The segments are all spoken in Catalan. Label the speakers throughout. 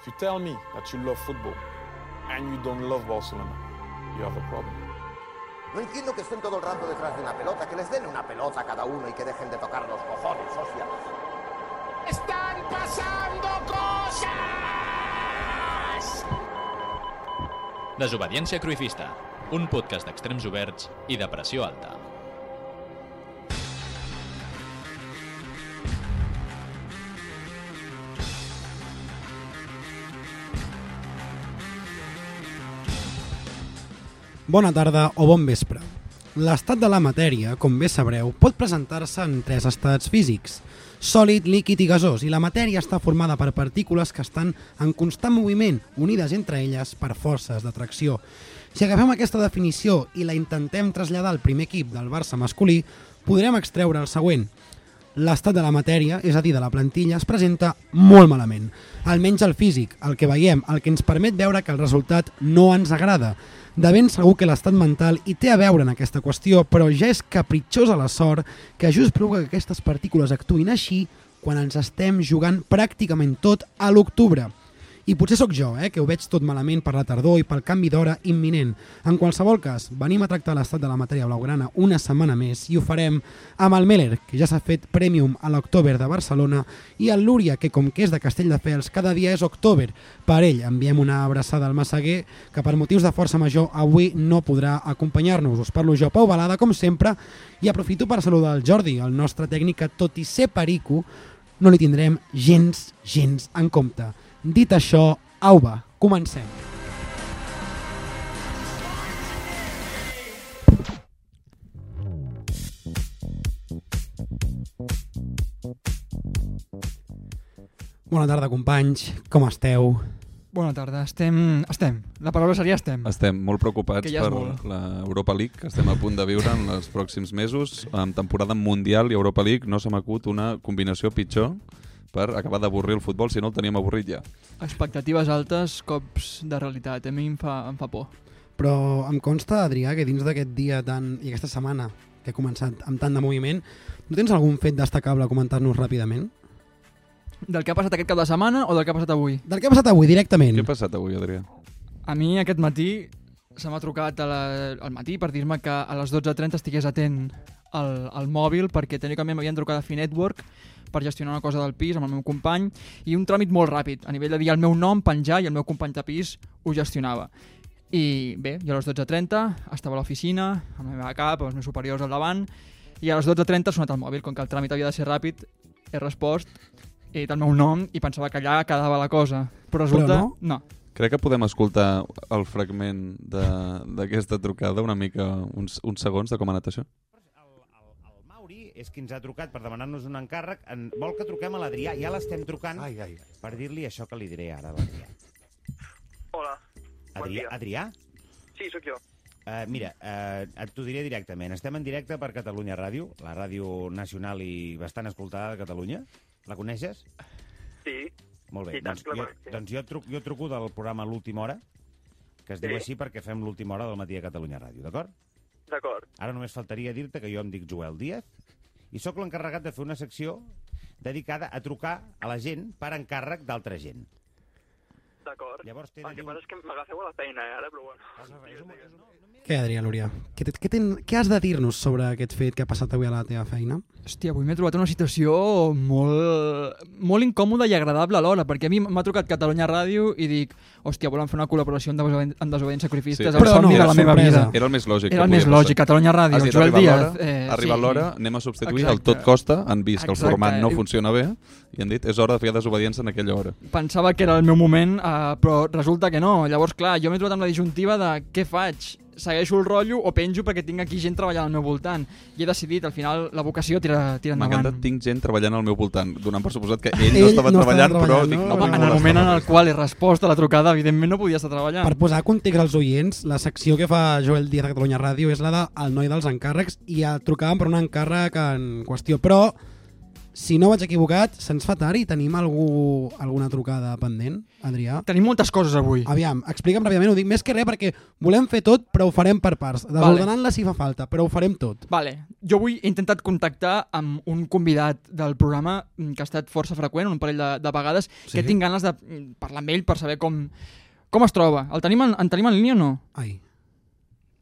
Speaker 1: If you tell me that you love football and you don't love Barcelona, you have a problem.
Speaker 2: No entiendo que estén todo el rato detrás de una pelota, que les den una pelota a cada uno y que dejen de tocar los cojones, hostia.
Speaker 3: ¡Están pasando cosas!
Speaker 4: Desobediència Cruifista, un podcast d'extrems oberts i de pressió alta.
Speaker 5: Bona tarda o bon vespre. L'estat de la matèria, com bé sabreu, pot presentar-se en tres estats físics, sòlid, líquid i gasós, i la matèria està formada per partícules que estan en constant moviment, unides entre elles per forces d'atracció. Si agafem aquesta definició i la intentem traslladar al primer equip del Barça masculí, podrem extreure el següent. L'estat de la matèria, és a dir, de la plantilla, es presenta molt malament. Almenys el físic, el que veiem, el que ens permet veure que el resultat no ens agrada. De ben segur que l'estat mental hi té a veure en aquesta qüestió, però ja és capritxosa la sort que just provoca que aquestes partícules actuïn així quan ens estem jugant pràcticament tot a l'octubre. I potser sóc jo, eh, que ho veig tot malament per la tardor i pel canvi d'hora imminent. En qualsevol cas, venim a tractar l'estat de la matèria blaugrana una setmana més i ho farem amb el Meller, que ja s'ha fet Premium a l'October de Barcelona, i el Lúria, que com que és de Castelldefels, cada dia és October. Per ell enviem una abraçada al Massaguer, que per motius de força major avui no podrà acompanyar-nos. Us parlo jo, Pau Balada, com sempre, i aprofito per saludar el Jordi, el nostre tècnic que, tot i ser perico, no li tindrem gens, gens en compte. Dit això, au va, comencem. Bona tarda, companys. Com esteu?
Speaker 6: Bona tarda, estem... estem. La paraula seria estem.
Speaker 7: Estem molt preocupats
Speaker 6: Que ja és
Speaker 7: per
Speaker 6: molt.
Speaker 7: la Europa League que estem a punt de viure en els pròxims mesos. Amb temporada mundial i Europa League no se m'acut una combinació pitjor per acabar d'avorrir el futbol, si no el teníem avorrit ja.
Speaker 6: Expectatives altes, cops de realitat. A mi em fa, em fa por.
Speaker 5: Però em consta, Adrià, que dins d'aquest dia tan... i aquesta setmana que ha començat amb tant de moviment, no tens algun fet destacable a comentar-nos ràpidament?
Speaker 6: Del que ha passat aquest cap de setmana o del que ha passat avui?
Speaker 5: Del que ha passat avui, directament.
Speaker 7: Què ha passat avui, Adrià?
Speaker 6: A mi aquest matí se m'ha trucat a la, al matí per dir-me que a les 12.30 estigués atent al, al mòbil perquè tècnicament m'havien trucat a Finetwork per gestionar una cosa del pis amb el meu company i un tràmit molt ràpid, a nivell de dir el meu nom, penjar i el meu company de pis ho gestionava. I bé, jo a les 12.30 estava a l'oficina, amb la meva cap, amb els meus superiors al davant, i a les 12.30 ha sonat el mòbil, com que el tràmit havia de ser ràpid, he respost, he dit el meu nom i pensava que allà quedava la cosa. Però resulta...
Speaker 5: no?
Speaker 6: no.
Speaker 7: Crec que podem escoltar el fragment de- d'aquesta trucada una mica, uns, uns segons de com ha anat això.
Speaker 8: El, el, el Mauri és qui ens ha trucat per demanar-nos un encàrrec. En, vol que truquem a l'Adrià, ja l'estem trucant, ai, ai, ai. per dir-li això que li diré ara a l'Adrià.
Speaker 9: Hola,
Speaker 8: Adrià,
Speaker 9: dia.
Speaker 8: Adrià?
Speaker 9: sí, sóc jo.
Speaker 8: Uh, mira, uh, et t'ho diré directament. Estem en directe per Catalunya Ràdio, la ràdio nacional i bastant escoltada de Catalunya. La coneixes?
Speaker 9: Sí,
Speaker 8: Molt bé.
Speaker 9: I tant
Speaker 8: doncs,
Speaker 9: que la
Speaker 8: jo,
Speaker 9: conec, sí.
Speaker 8: doncs jo, truc, jo truco del programa L'Última Hora, que es diu
Speaker 9: Sí.
Speaker 8: així perquè fem l'última hora del matí a Catalunya Ràdio, d'acord?
Speaker 9: d'acord.
Speaker 8: Ara només faltaria dir-te que jo em dic Joel Díaz i sóc l'encarregat de fer una secció dedicada a trucar a la gent per encàrrec d'altra gent.
Speaker 9: D'acord.
Speaker 8: Llavors té
Speaker 9: El
Speaker 8: de
Speaker 9: que
Speaker 8: dir...
Speaker 9: passa és que m'agafeu a la feina, eh, ara, però bueno. Digues, digues.
Speaker 5: Què, Adrià Lúria? Què, te- què, ten, què has de dir-nos sobre aquest fet que ha passat avui a la teva feina?
Speaker 6: Hòstia, avui m'he trobat una situació molt, molt incòmoda i agradable alhora, perquè a mi m'ha trucat Catalunya Ràdio i dic, hòstia, volen fer una col·laboració amb desobedient, amb desobedient sacrifistes,
Speaker 7: Sí.
Speaker 6: el
Speaker 5: Però
Speaker 6: somni
Speaker 5: no,
Speaker 6: de la meva
Speaker 5: sorpresa.
Speaker 6: vida.
Speaker 7: Era el més lògic.
Speaker 6: Era
Speaker 7: que
Speaker 6: el més
Speaker 7: podia
Speaker 6: lògic,
Speaker 7: passar.
Speaker 6: Catalunya Ràdio,
Speaker 7: Has dit,
Speaker 6: Joel
Speaker 7: arriba
Speaker 6: Díaz. Eh,
Speaker 7: l'hora, arriba l'hora, anem a substituir el
Speaker 6: Exacte.
Speaker 7: tot costa, han vist que el
Speaker 6: Exacte.
Speaker 7: format no funciona bé i han dit és hora de fer desobediència en aquella hora.
Speaker 6: Pensava que era el meu moment, eh, però resulta que no. Llavors, clar, jo m'he trobat amb la disjuntiva de què faig? Segueixo el rotllo o penjo perquè tinc aquí gent treballant al meu voltant? I he decidit, al final, la vocació tira, tira
Speaker 7: M'ha
Speaker 6: endavant.
Speaker 7: encantat, tinc gent treballant al meu voltant, donant per suposat que ell,
Speaker 5: Ah, Ell
Speaker 7: no estava
Speaker 5: no estava
Speaker 7: treballant, però
Speaker 5: treballant,
Speaker 7: dic,
Speaker 5: no?
Speaker 7: no,
Speaker 6: En el moment en el qual he respost a la trucada, evidentment no podia estar treballant.
Speaker 5: Per posar context als oients, la secció que fa Joel Díaz a Catalunya Ràdio és la de El noi dels encàrrecs i ja trucàvem per un encàrrec en qüestió, però Si no vaig equivocat, se'ns fa tard i tenim algú, alguna trucada pendent, Adrià?
Speaker 6: Tenim moltes coses avui.
Speaker 5: Aviam, explica'm ràpidament, ho dic més que res perquè volem fer tot, però ho farem per parts. Desordenant-la si fa falta, però ho farem tot.
Speaker 6: Vale. Jo avui he intentat contactar amb un convidat del programa mm, que ha estat força freqüent, un parell de, de vegades, sí. que tinc ganes de mm, parlar amb ell per saber com, com es troba. El tenim en, en tenim en línia o no?
Speaker 5: Ai.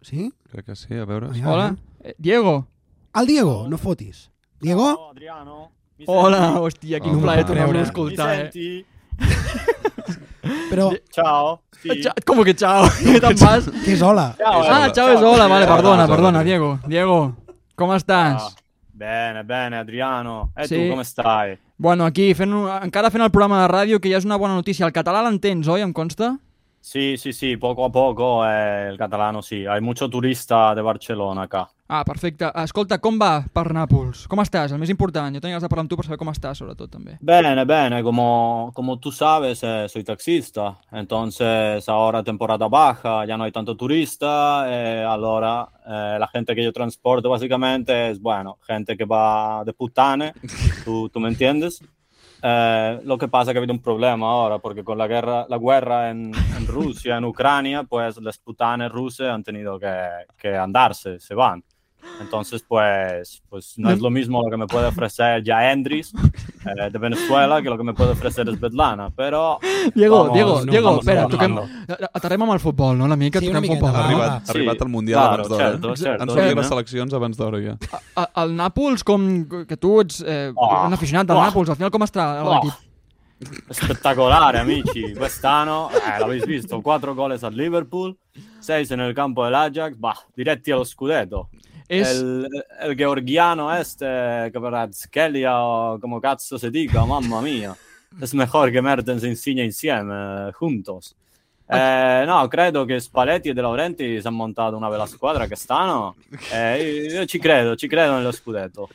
Speaker 5: Sí?
Speaker 7: Crec que sí, a veure.
Speaker 5: Aviam,
Speaker 6: Hola,
Speaker 5: eh?
Speaker 6: eh, Diego.
Speaker 5: El Diego, no fotis. Diego?
Speaker 9: Adriano. Mi
Speaker 6: Hola, hòstia, quin
Speaker 7: Home.
Speaker 6: plaer tornar-ho
Speaker 5: Mi
Speaker 6: a escoltar. Eh?
Speaker 9: senti?
Speaker 5: Però
Speaker 9: Ciao. Sì.
Speaker 6: Cha- Eh, Com que ciao? Que te'n vas?
Speaker 5: què és hola?
Speaker 9: Ciao.
Speaker 6: Ah,
Speaker 7: hola.
Speaker 6: ciao és hola, vale,
Speaker 7: Ciao,
Speaker 6: perdona,
Speaker 7: ciao,
Speaker 6: perdona,
Speaker 7: ciao.
Speaker 6: Diego. Diego, com estàs?
Speaker 9: Ah, Bene, bene, Adriano. E
Speaker 6: Sì.
Speaker 9: tu come stai?
Speaker 6: Bueno, aquí, fent, un- encara fent el programa de ràdio, que ja és una bona notícia. El català l'entens, oi, em consta?
Speaker 9: Sì, sì, sì, poco a poco eh, il catalano sì. Hai mucho turista de Barcellona acá.
Speaker 6: Ah, perfecte. Escolta, com va per Nàpols? Com estàs? El més important. Jo tenia ganes de parlar amb tu per saber com estàs, sobretot, també.
Speaker 9: Bene, bene, como, como tú sabes, eh, soy taxista, entonces ahora temporada baja, ya no hay tanto turista, eh, allora eh, la gente que yo transporto básicamente es, bueno, gente que va de putane, tú, tú me entiendes. Eh, lo que pasa es que ha habido un problema ahora, porque con la guerra, la guerra en, en Rusia, en Ucrania, pues las putanes rusas han tenido que, que andarse, se van. Entonces, pues, pues no es lo mismo lo que me puede ofrecer ya Endris eh, de Venezuela que lo que me puede ofrecer es Svetlana, pero...
Speaker 6: Diego,
Speaker 9: vamos-
Speaker 6: Diego, Diego,
Speaker 9: vamos
Speaker 6: espera, toquem...
Speaker 9: trabajando.
Speaker 6: Aterrem amb el futbol, no? Una mica,
Speaker 5: Sí, una
Speaker 6: toquem
Speaker 5: miqueta,
Speaker 6: futbol.
Speaker 5: va.
Speaker 7: Arribat,
Speaker 9: Sí,
Speaker 7: arribat al eh? Mundial
Speaker 9: claro,
Speaker 7: abans d'hora.
Speaker 9: certo, certo,
Speaker 7: Han sortit
Speaker 9: sí,
Speaker 7: les
Speaker 9: no?
Speaker 7: eleccions abans d'hora ja.
Speaker 6: A, a- Ah, el Nàpols, com que tu ets eh,
Speaker 9: Oh.
Speaker 6: un aficionat del
Speaker 9: Oh.
Speaker 6: Nàpols, al final com està l'equip?
Speaker 9: Spettacolare, amici. Quest'anno, eh, l'avete visto, 4 gol al Liverpool, 6 nel campo dell'Ajax, bah, diretti allo scudetto.
Speaker 6: És...
Speaker 9: Il, il georgiano est, eh, Kvaratskhelia, o come cazzo si dica, mamma mia. Es mejor che Mertens insegna insieme, eh, juntos. Eh, no, credo che Spalletti e De Laurenti si è montato una bella squadra che stanno. Eh, io, io ci credo, ci credo nello scudetto.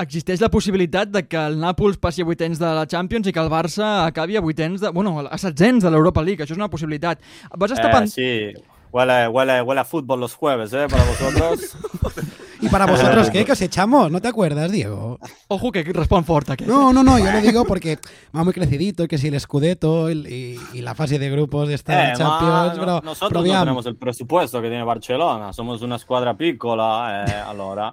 Speaker 6: Existeix la possibilitat de que el Nàpols passi a vuitens de la Champions i que el Barça acabi a vuitens de... Bueno, a setzens de l'Europa League, això és una possibilitat. Vas
Speaker 9: Eh,
Speaker 6: estar... pen-
Speaker 9: sí, huele, huele, huele a fútbol los jueves, ¿eh? Para vosotros.
Speaker 5: ¿Y para vosotros qué? Que os echamos, ¿no te acuerdas, Diego?
Speaker 6: Ojo, que respon fort, aquest.
Speaker 5: No, no, no, yo lo digo porque va muy crecidito, que si el escudeto el- y, y la fase de grupos de esta
Speaker 9: Eh, ma
Speaker 5: Champions,
Speaker 9: no-
Speaker 5: pero,
Speaker 9: nosotros no
Speaker 5: pero aviam,
Speaker 9: tenemos el presupuesto que tiene Barcelona, somos una squadra piccola, eh, allora.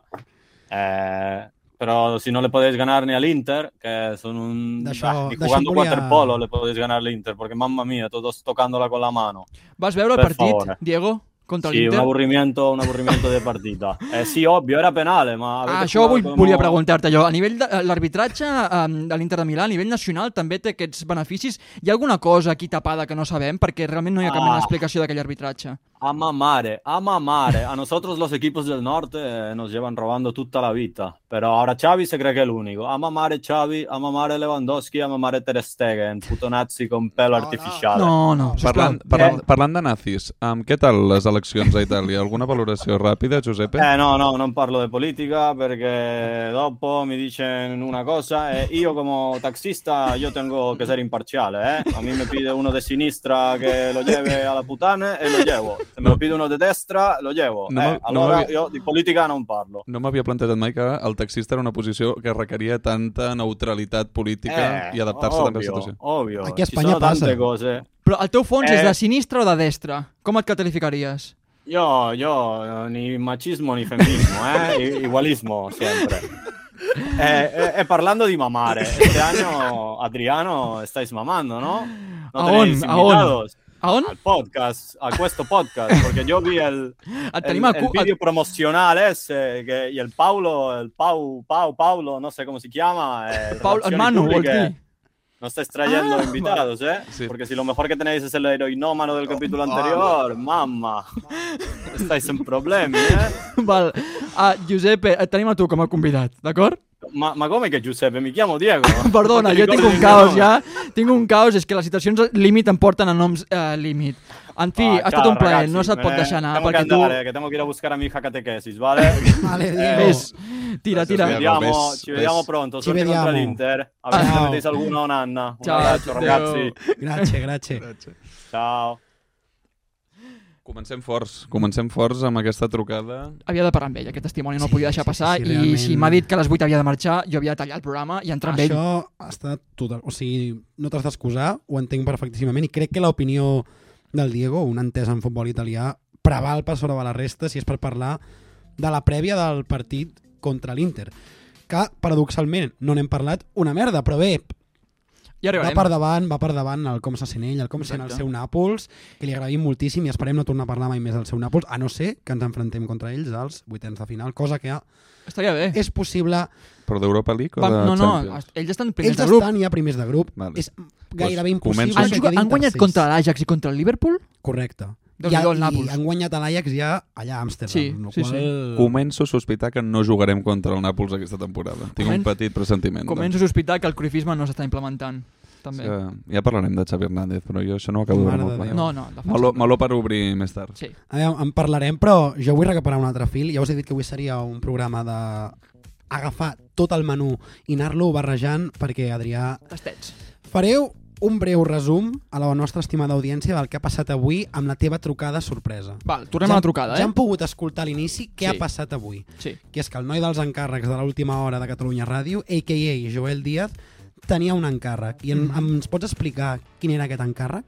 Speaker 9: Eh, pero si no le podéis ganar ni al Inter, que son un...
Speaker 5: Deixa-
Speaker 9: Ah, ni
Speaker 5: deixa'm
Speaker 9: jugando
Speaker 5: volia-
Speaker 9: waterpolo le podéis ganar al Inter, porque mamma mía, todos tocándola con la mano.
Speaker 6: Vas veure el
Speaker 9: Per
Speaker 6: partit,
Speaker 9: favore.
Speaker 6: Diego, contra
Speaker 9: Sí, un
Speaker 6: l'Inter?
Speaker 9: aburrimiento, un aburrimiento de partida. Eh, sí, obvio, era penal, ma...
Speaker 6: Ah,
Speaker 9: avete
Speaker 6: això
Speaker 9: jugato
Speaker 6: vull,
Speaker 9: con-
Speaker 6: volia preguntar-te jo. A nivell de eh, l'arbitratge um, de l'Inter de Milà, a nivell nacional, també té aquests beneficis. Hi ha alguna cosa aquí tapada que no sabem? Perquè realment no hi ha cap mena
Speaker 9: Ah.
Speaker 6: d'explicació d'aquell arbitratge.
Speaker 9: A mamare, a mamare. A nosotros los equipos del norte eh, nos llevan robando tutta la vita. Pero ahora Xavi se cree que es el único. A mamare Xavi, a mamare Lewandowski, a mamare Ter Stegen, puto nazi con pelo artificial.
Speaker 6: No, no, sisplau. Eh,
Speaker 7: Parlant, parlant,
Speaker 5: eh,
Speaker 7: parlant de nazis, um, què tal les eleccions a Itàlia? Alguna valoració ràpida, Giuseppe?
Speaker 9: Eh no, no, non parlo di politica perché dopo mi dicen una cosa e io come taxista io tengo che essere imparziale, eh? A me mi pide uno di sinistra che lo lleve alla puttana e eh, lo llevo. Se me lo pide uno di destra lo llevo.
Speaker 7: No,
Speaker 9: eh,
Speaker 7: ma- no,
Speaker 9: allora
Speaker 7: ma-
Speaker 9: io di politica non parlo.
Speaker 7: No m'havia plantejat mai que el taxista era una posició que requeria tanta neutralitat política
Speaker 9: Eh,
Speaker 7: i adaptar-se també a la
Speaker 9: ovvio,
Speaker 7: situació.
Speaker 9: Ovvio,
Speaker 5: Aquí a
Speaker 9: ci
Speaker 5: Spagna
Speaker 9: sono
Speaker 5: passa.
Speaker 9: tante cose.
Speaker 6: Però el teu fons
Speaker 9: Eh.
Speaker 6: és de sinistra o de destra? Com et qualificaries?
Speaker 9: Io, io, eh, ni machismo ni femminismo, eh? I- Igualismo sempre. E, e- e parlando di mamare, este año, Adriano, stai mamando, no?
Speaker 6: A
Speaker 9: No tenéis
Speaker 6: on, a on?
Speaker 9: invitados
Speaker 6: A on?
Speaker 9: Al podcast, a questo podcast, porque yo vi el,
Speaker 6: Et
Speaker 9: el,
Speaker 6: tenim a
Speaker 9: el
Speaker 6: cu...
Speaker 9: video
Speaker 6: Et...
Speaker 9: promocional ese, que, y el Paulo, el Pau, Pau, Paulo, no sé cómo se llama. eh,
Speaker 6: Paul, el
Speaker 9: relazioni
Speaker 6: Manu, vols
Speaker 9: pubbliche.
Speaker 6: dir?
Speaker 9: No estáis trayendo
Speaker 6: Ah,
Speaker 9: invitados, ¿eh?
Speaker 7: Sí. Oh,
Speaker 9: Porque si lo mejor que tenéis es el heroinómano del capítulo anterior, mamma. Estáis en problemas, ¿eh?
Speaker 6: Val. Ah, Giuseppe, et tenim a tu com a convidat, d'acord?
Speaker 9: Ma, ma come que Giuseppe? Mi chiamo Diego.
Speaker 6: Perdona,
Speaker 9: No te
Speaker 6: jo tinc
Speaker 9: ricordo
Speaker 6: un
Speaker 9: il mio
Speaker 6: caos
Speaker 9: nome.
Speaker 6: ja. Tinc un caos, és que les situacions límit em porten a noms eh, límit. En fi,
Speaker 9: Ah,
Speaker 6: ha estat
Speaker 9: ciao,
Speaker 6: un plaer,
Speaker 9: ragazzi,
Speaker 6: no se't
Speaker 9: me
Speaker 6: pot
Speaker 9: ne-
Speaker 6: deixar anar,
Speaker 9: tengo
Speaker 6: perquè
Speaker 9: que
Speaker 6: tu...
Speaker 9: andare, che tengo che ir a buscar a mi hija catechesis, ¿vale?
Speaker 5: Vale,
Speaker 9: Eh,
Speaker 5: Diego.
Speaker 6: Ves, tira,
Speaker 9: Ci
Speaker 6: tira.
Speaker 7: Grazie,
Speaker 9: vediamo,
Speaker 7: Ves,
Speaker 9: ci vediamo
Speaker 7: Ves.
Speaker 9: pronto,
Speaker 5: Ci
Speaker 9: sono contro
Speaker 5: vediamo.
Speaker 9: l'Inter. A vedere se
Speaker 5: Ciao.
Speaker 9: avete alguna o nanna. Un
Speaker 6: Ciao,
Speaker 9: abbraccio,
Speaker 6: Giuseppe.
Speaker 9: ragazzi.
Speaker 5: Gracias, gracias.
Speaker 9: Ciao.
Speaker 7: Comencem forts, comencem forts amb aquesta trucada.
Speaker 6: Havia de parlar amb ell, aquest testimoni no
Speaker 5: Sí,
Speaker 6: el podia deixar
Speaker 5: sí,
Speaker 6: passar
Speaker 5: sí,
Speaker 6: i
Speaker 5: realment.
Speaker 6: si m'ha dit que a les 8 havia de marxar, jo havia de tallar el programa i entrar amb ell.
Speaker 5: Això ha estat total... O sigui, no t'has d'excusar, ho entenc perfectíssimament i crec que l'opinió del Diego, un entès en futbol italià, preval per sobre de la resta si és per parlar de la prèvia del partit contra l'Inter que paradoxalment no n'hem parlat una merda, però bé,
Speaker 6: Ja
Speaker 5: va
Speaker 6: arribarem.
Speaker 5: per davant, va per davant el com se sent ell, el com sent el
Speaker 6: Exacte.
Speaker 5: seu Nàpols, que li agraïm moltíssim i esperem no tornar a parlar mai més del seu Nàpols, a no ser que ens enfrontem contra ells als vuitens de final, cosa que
Speaker 6: Estaria bé.
Speaker 5: és possible
Speaker 7: Però d'Europa League o
Speaker 6: Va,
Speaker 7: de
Speaker 6: no, no,
Speaker 7: Champions?
Speaker 6: est- ells estan
Speaker 5: Ells
Speaker 6: primers de grup.
Speaker 5: estan ja primers de grup.
Speaker 7: Vale.
Speaker 5: Vale. És gairebé
Speaker 7: Doncs
Speaker 5: impossible
Speaker 7: comença.
Speaker 5: que
Speaker 6: Han,
Speaker 5: quedin
Speaker 6: jugat- han guanyat
Speaker 5: tercers.
Speaker 6: contra l'Ajax i contra el Liverpool?
Speaker 5: Correcte.
Speaker 6: Déu-n'hi-do,
Speaker 5: I,
Speaker 6: el
Speaker 5: i
Speaker 6: Nàpols.
Speaker 5: han guanyat a l'Ajax ja allà a Amsterdam.
Speaker 6: Sí,
Speaker 5: amb la
Speaker 6: sí,
Speaker 5: qual
Speaker 6: sí.
Speaker 7: Començo a sospitar que no jugarem contra el Nàpols aquesta temporada. Tinc
Speaker 6: Comen-
Speaker 7: un petit pressentiment.
Speaker 6: Començo a sosptar que el cruyffisme no s'està implementant,
Speaker 7: doncs.
Speaker 6: també.
Speaker 7: Que Ja parlarem de Xavi Hernández, però jo això no ho acabo de
Speaker 5: Mare
Speaker 7: veure molt
Speaker 5: de Déu.
Speaker 7: clar.
Speaker 6: No, no, defensa.
Speaker 7: Meló, meló per obrir més tard.
Speaker 6: Sí.
Speaker 5: A veure, eh, en parlarem, però jo vull recuperar un altre fil. Ja us he dit que avui seria un programa de agafar tot el menú i anar-lo barrejant perquè, Adrià,
Speaker 6: Tastets.
Speaker 5: fareu un breu resum a la nostra estimada audiència del que ha passat avui amb la teva trucada sorpresa.
Speaker 6: Val, tornem a la trucada,
Speaker 5: Ja
Speaker 6: eh?
Speaker 5: han pogut escoltar a l'inici què
Speaker 6: Sí.
Speaker 5: ha passat avui.
Speaker 6: Sí.
Speaker 5: que és que el noi dels encàrrecs de l'última hora de Catalunya Ràdio, a.k.a. Joel Díaz, tenia un encàrrec. I
Speaker 7: Mm.
Speaker 5: en, em, ens pots explicar quin era aquest encàrrec?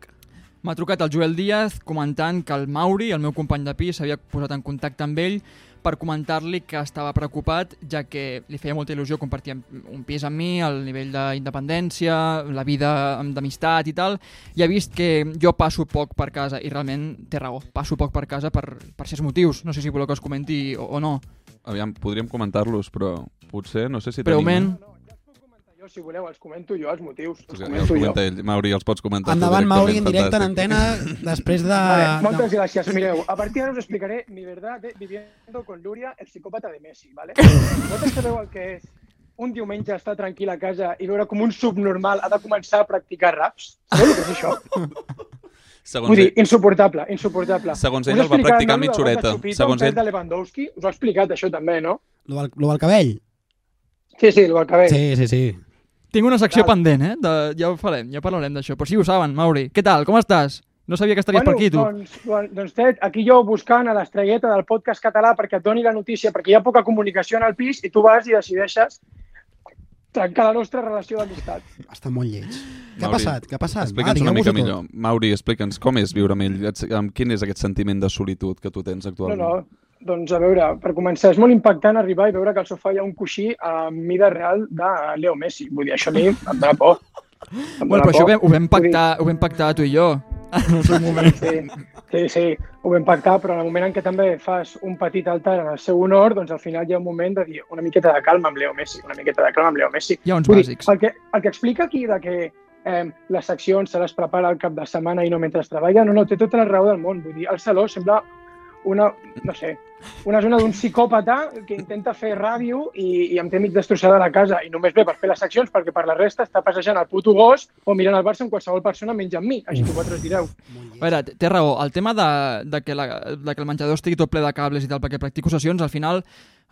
Speaker 6: M'ha trucat el Joel Díaz comentant que el Mauri, el meu company de pis, s'havia posat en contacte amb ell per comentar-li que estava preocupat, ja que li feia molta il·lusió compartir amb- un pis amb mi, el nivell d'independència, la vida amb- d'amistat i tal, i ha vist que jo passo poc per casa, i realment té raó, passo poc per casa per, per certs motius, no sé si voleu que us comenti o, o no.
Speaker 7: Aviam, podríem comentar-los, però potser, no sé si
Speaker 6: Breument,
Speaker 10: Jo, si voleu, els comento jo els motius. Els
Speaker 7: tenim... Ja, ja els
Speaker 10: comento jo.
Speaker 7: eh, comenta ell. Mauri, els pots comentar tu
Speaker 5: Endavant,
Speaker 7: directament,
Speaker 5: Mauri, en directe en
Speaker 7: fantàstic.
Speaker 5: antena, després de...
Speaker 10: Vale, moltes
Speaker 5: de...
Speaker 10: gràcies. Mireu, a partir d'ara us explicaré mi verdad de Viviendo con Luria, el psicòpata de Messi, ¿vale? Vosaltres sabeu el que és un diumenge estar tranquil a casa i veure com un subnormal ha de començar a practicar raps? Sabeu el que és això?
Speaker 7: Segons
Speaker 10: Vull dir,
Speaker 7: ell-
Speaker 10: insuportable, insuportable.
Speaker 7: Segons
Speaker 10: Us
Speaker 7: ell el va
Speaker 10: explicaré
Speaker 7: practicar
Speaker 10: el nano
Speaker 7: mitja
Speaker 10: del gol de
Speaker 7: horeta.
Speaker 10: Chupito,
Speaker 7: Segons
Speaker 10: el
Speaker 7: ell-
Speaker 10: de Lewandowski, us ho ha explicat això també, no?
Speaker 5: Lo, del, lo del cabell?
Speaker 10: Sí, sí, el cabell.
Speaker 5: Sí, sí, sí.
Speaker 6: tinc una secció
Speaker 10: Tal.
Speaker 6: pendent, eh? De, ja ho farem, ja parlarem d'això, però sí ho saben, Mauri. Què tal, com estàs? No sabia que estaries per aquí, tu.
Speaker 10: Doncs, doncs, doncs Ted, aquí jo buscant a l'estrelleta del podcast català perquè et doni la notícia, perquè hi ha poca comunicació en el pis i tu vas i decideixes trencar la nostra relació d'amistat.
Speaker 5: Està molt lleig. Què ha
Speaker 7: Mauri,
Speaker 5: passat? Què ha passat?
Speaker 7: Explica'ns una
Speaker 5: digueu-vos-ho
Speaker 7: mica
Speaker 5: tot.
Speaker 7: millor. Mauri, explica'ns com és viure amb ell, Et- amb quin és aquest sentiment de solitud que tu tens
Speaker 10: No,
Speaker 7: actualment.
Speaker 10: no, doncs a veure, per començar, és molt impactant arribar i veure que al sofà hi ha un coixí a mida real de Leo Messi. Vull dir, això a mi em dona por. Em
Speaker 6: Bueno,
Speaker 10: dona
Speaker 6: però això ho
Speaker 10: por.
Speaker 6: vam, ho vam
Speaker 10: Vull dir,
Speaker 6: pactar, ho vam pactar tu i jo.
Speaker 10: Sí, sí, sí, ho vam pactar, però en el moment en què també fas un petit altar en el seu honor, doncs al final hi ha un moment de dir una miqueta de calma amb Leo Messi, una miqueta de calma amb Leo Messi.
Speaker 6: Hi ha uns
Speaker 10: Vull dir,
Speaker 6: bàsics.
Speaker 10: el, que, el que explica aquí de que eh, les seccions se les prepara al cap de setmana i no mentre es treballa, no, no, té tota la raó del món. Vull dir, el saló sembla una, no sé, una zona d'un psicòpata que intenta fer ràdio i, i em té mig destrossada la casa i només ve per fer les seccions perquè per la resta està passejant el puto gos o mirant el Barça amb qualsevol persona menys amb mi, així que vosaltres direu.
Speaker 5: Molt
Speaker 6: A veure, té- té raó. El tema de, de, que la, de que el menjador estigui tot ple de cables i tal, perquè practico sessions, al final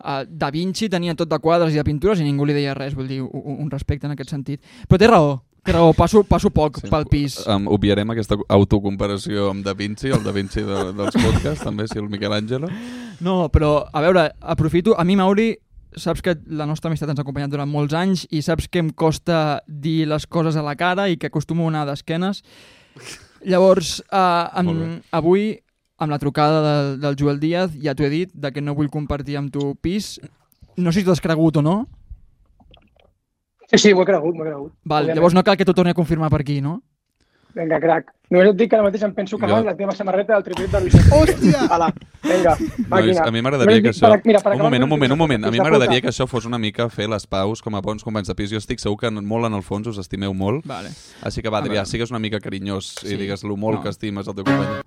Speaker 6: eh, Da Vinci tenia tot de quadres i de pintures i ningú li deia res, vull dir, un, un respecte en aquest sentit. Però té raó, té raó, passo, passo poc
Speaker 7: Sí.
Speaker 6: sí, pel pis.
Speaker 7: Um, obviarem aquesta autocomparació amb Da Vinci, el Da Vinci de, dels podcasts, també, si el Miquel Àngelo.
Speaker 6: No, però, a veure, aprofito... A mi, Mauri, saps que la nostra amistat ens ha acompanyat durant molts anys i saps que em costa dir les coses a la cara i que acostumo a anar d'esquenes. Llavors, eh,
Speaker 7: Molt
Speaker 6: amb, avui, amb la trucada del, del Joel Díaz, ja t'ho he dit, de que no vull compartir amb tu pis. No sé si t'ho has cregut o no.
Speaker 10: Sí, sí, m'ho he cregut, m'ho he cregut.
Speaker 6: Val,
Speaker 10: Òbviament.
Speaker 6: llavors no cal que t'ho torni a confirmar per aquí, no?
Speaker 10: Vinga, crac. Només et dic que ara mateix em penso que
Speaker 7: Jo-
Speaker 10: jo... la teva samarreta del triplet de Luis. Hòstia! Ala, vinga,
Speaker 7: Nois,
Speaker 10: màquina.
Speaker 7: a mi m'agradaria que
Speaker 10: Només dic
Speaker 7: això...
Speaker 10: per- mira, per
Speaker 7: un
Speaker 10: acabar
Speaker 7: moment, un
Speaker 10: amb el
Speaker 7: moment, un moment. A mi
Speaker 10: Fins la
Speaker 7: m'agradaria que
Speaker 10: puta.
Speaker 7: això fos una mica fer les paus com a bons companys de pis. Jo estic segur que en- molt en el fons us estimeu molt.
Speaker 6: Vale.
Speaker 7: Així que va,
Speaker 6: A
Speaker 7: Adrià,
Speaker 6: veure.
Speaker 7: sigues una mica carinyós
Speaker 6: Sí.
Speaker 7: i digues lo molt
Speaker 6: No.
Speaker 7: que estimes el teu company.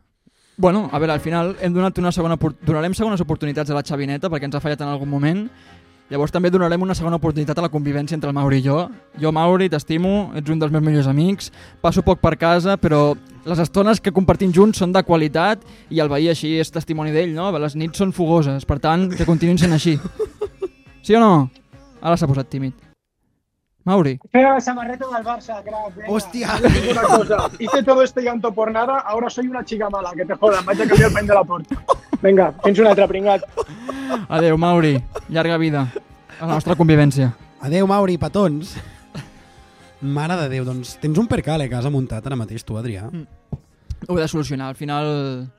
Speaker 6: Bueno, a veure, al final hem donat una segona opor- donarem segones oportunitats a la Xavineta perquè ens ha fallat en algun moment. Llavors també donarem una segona oportunitat a la convivència entre el Mauri i jo. Jo, Mauri, t'estimo, ets un dels meus millors amics, passo poc per casa, però les estones que compartim junts són de qualitat i el veí així és testimoni d'ell, no? Les nits són fogoses, per tant, que continuïn sent així. Sí o no? Ara s'ha posat tímid. Mauri.
Speaker 10: Pero la samarreta del Barça, crack. venga.
Speaker 5: Hòstia!
Speaker 10: Dic Una cosa, hice todo este llanto por nada, ahora soy una chica mala, que te jodan, vaig a canviar el pany de la porta. Vinga, tens un altre pringat.
Speaker 6: Adeu, Mauri. Llarga vida a la nostra convivència.
Speaker 5: Adeu, Mauri, petons. Mare de Déu, doncs tens un percale que has muntat ara mateix tu, Adrià.
Speaker 10: Mm.
Speaker 6: Ho he de solucionar. Al final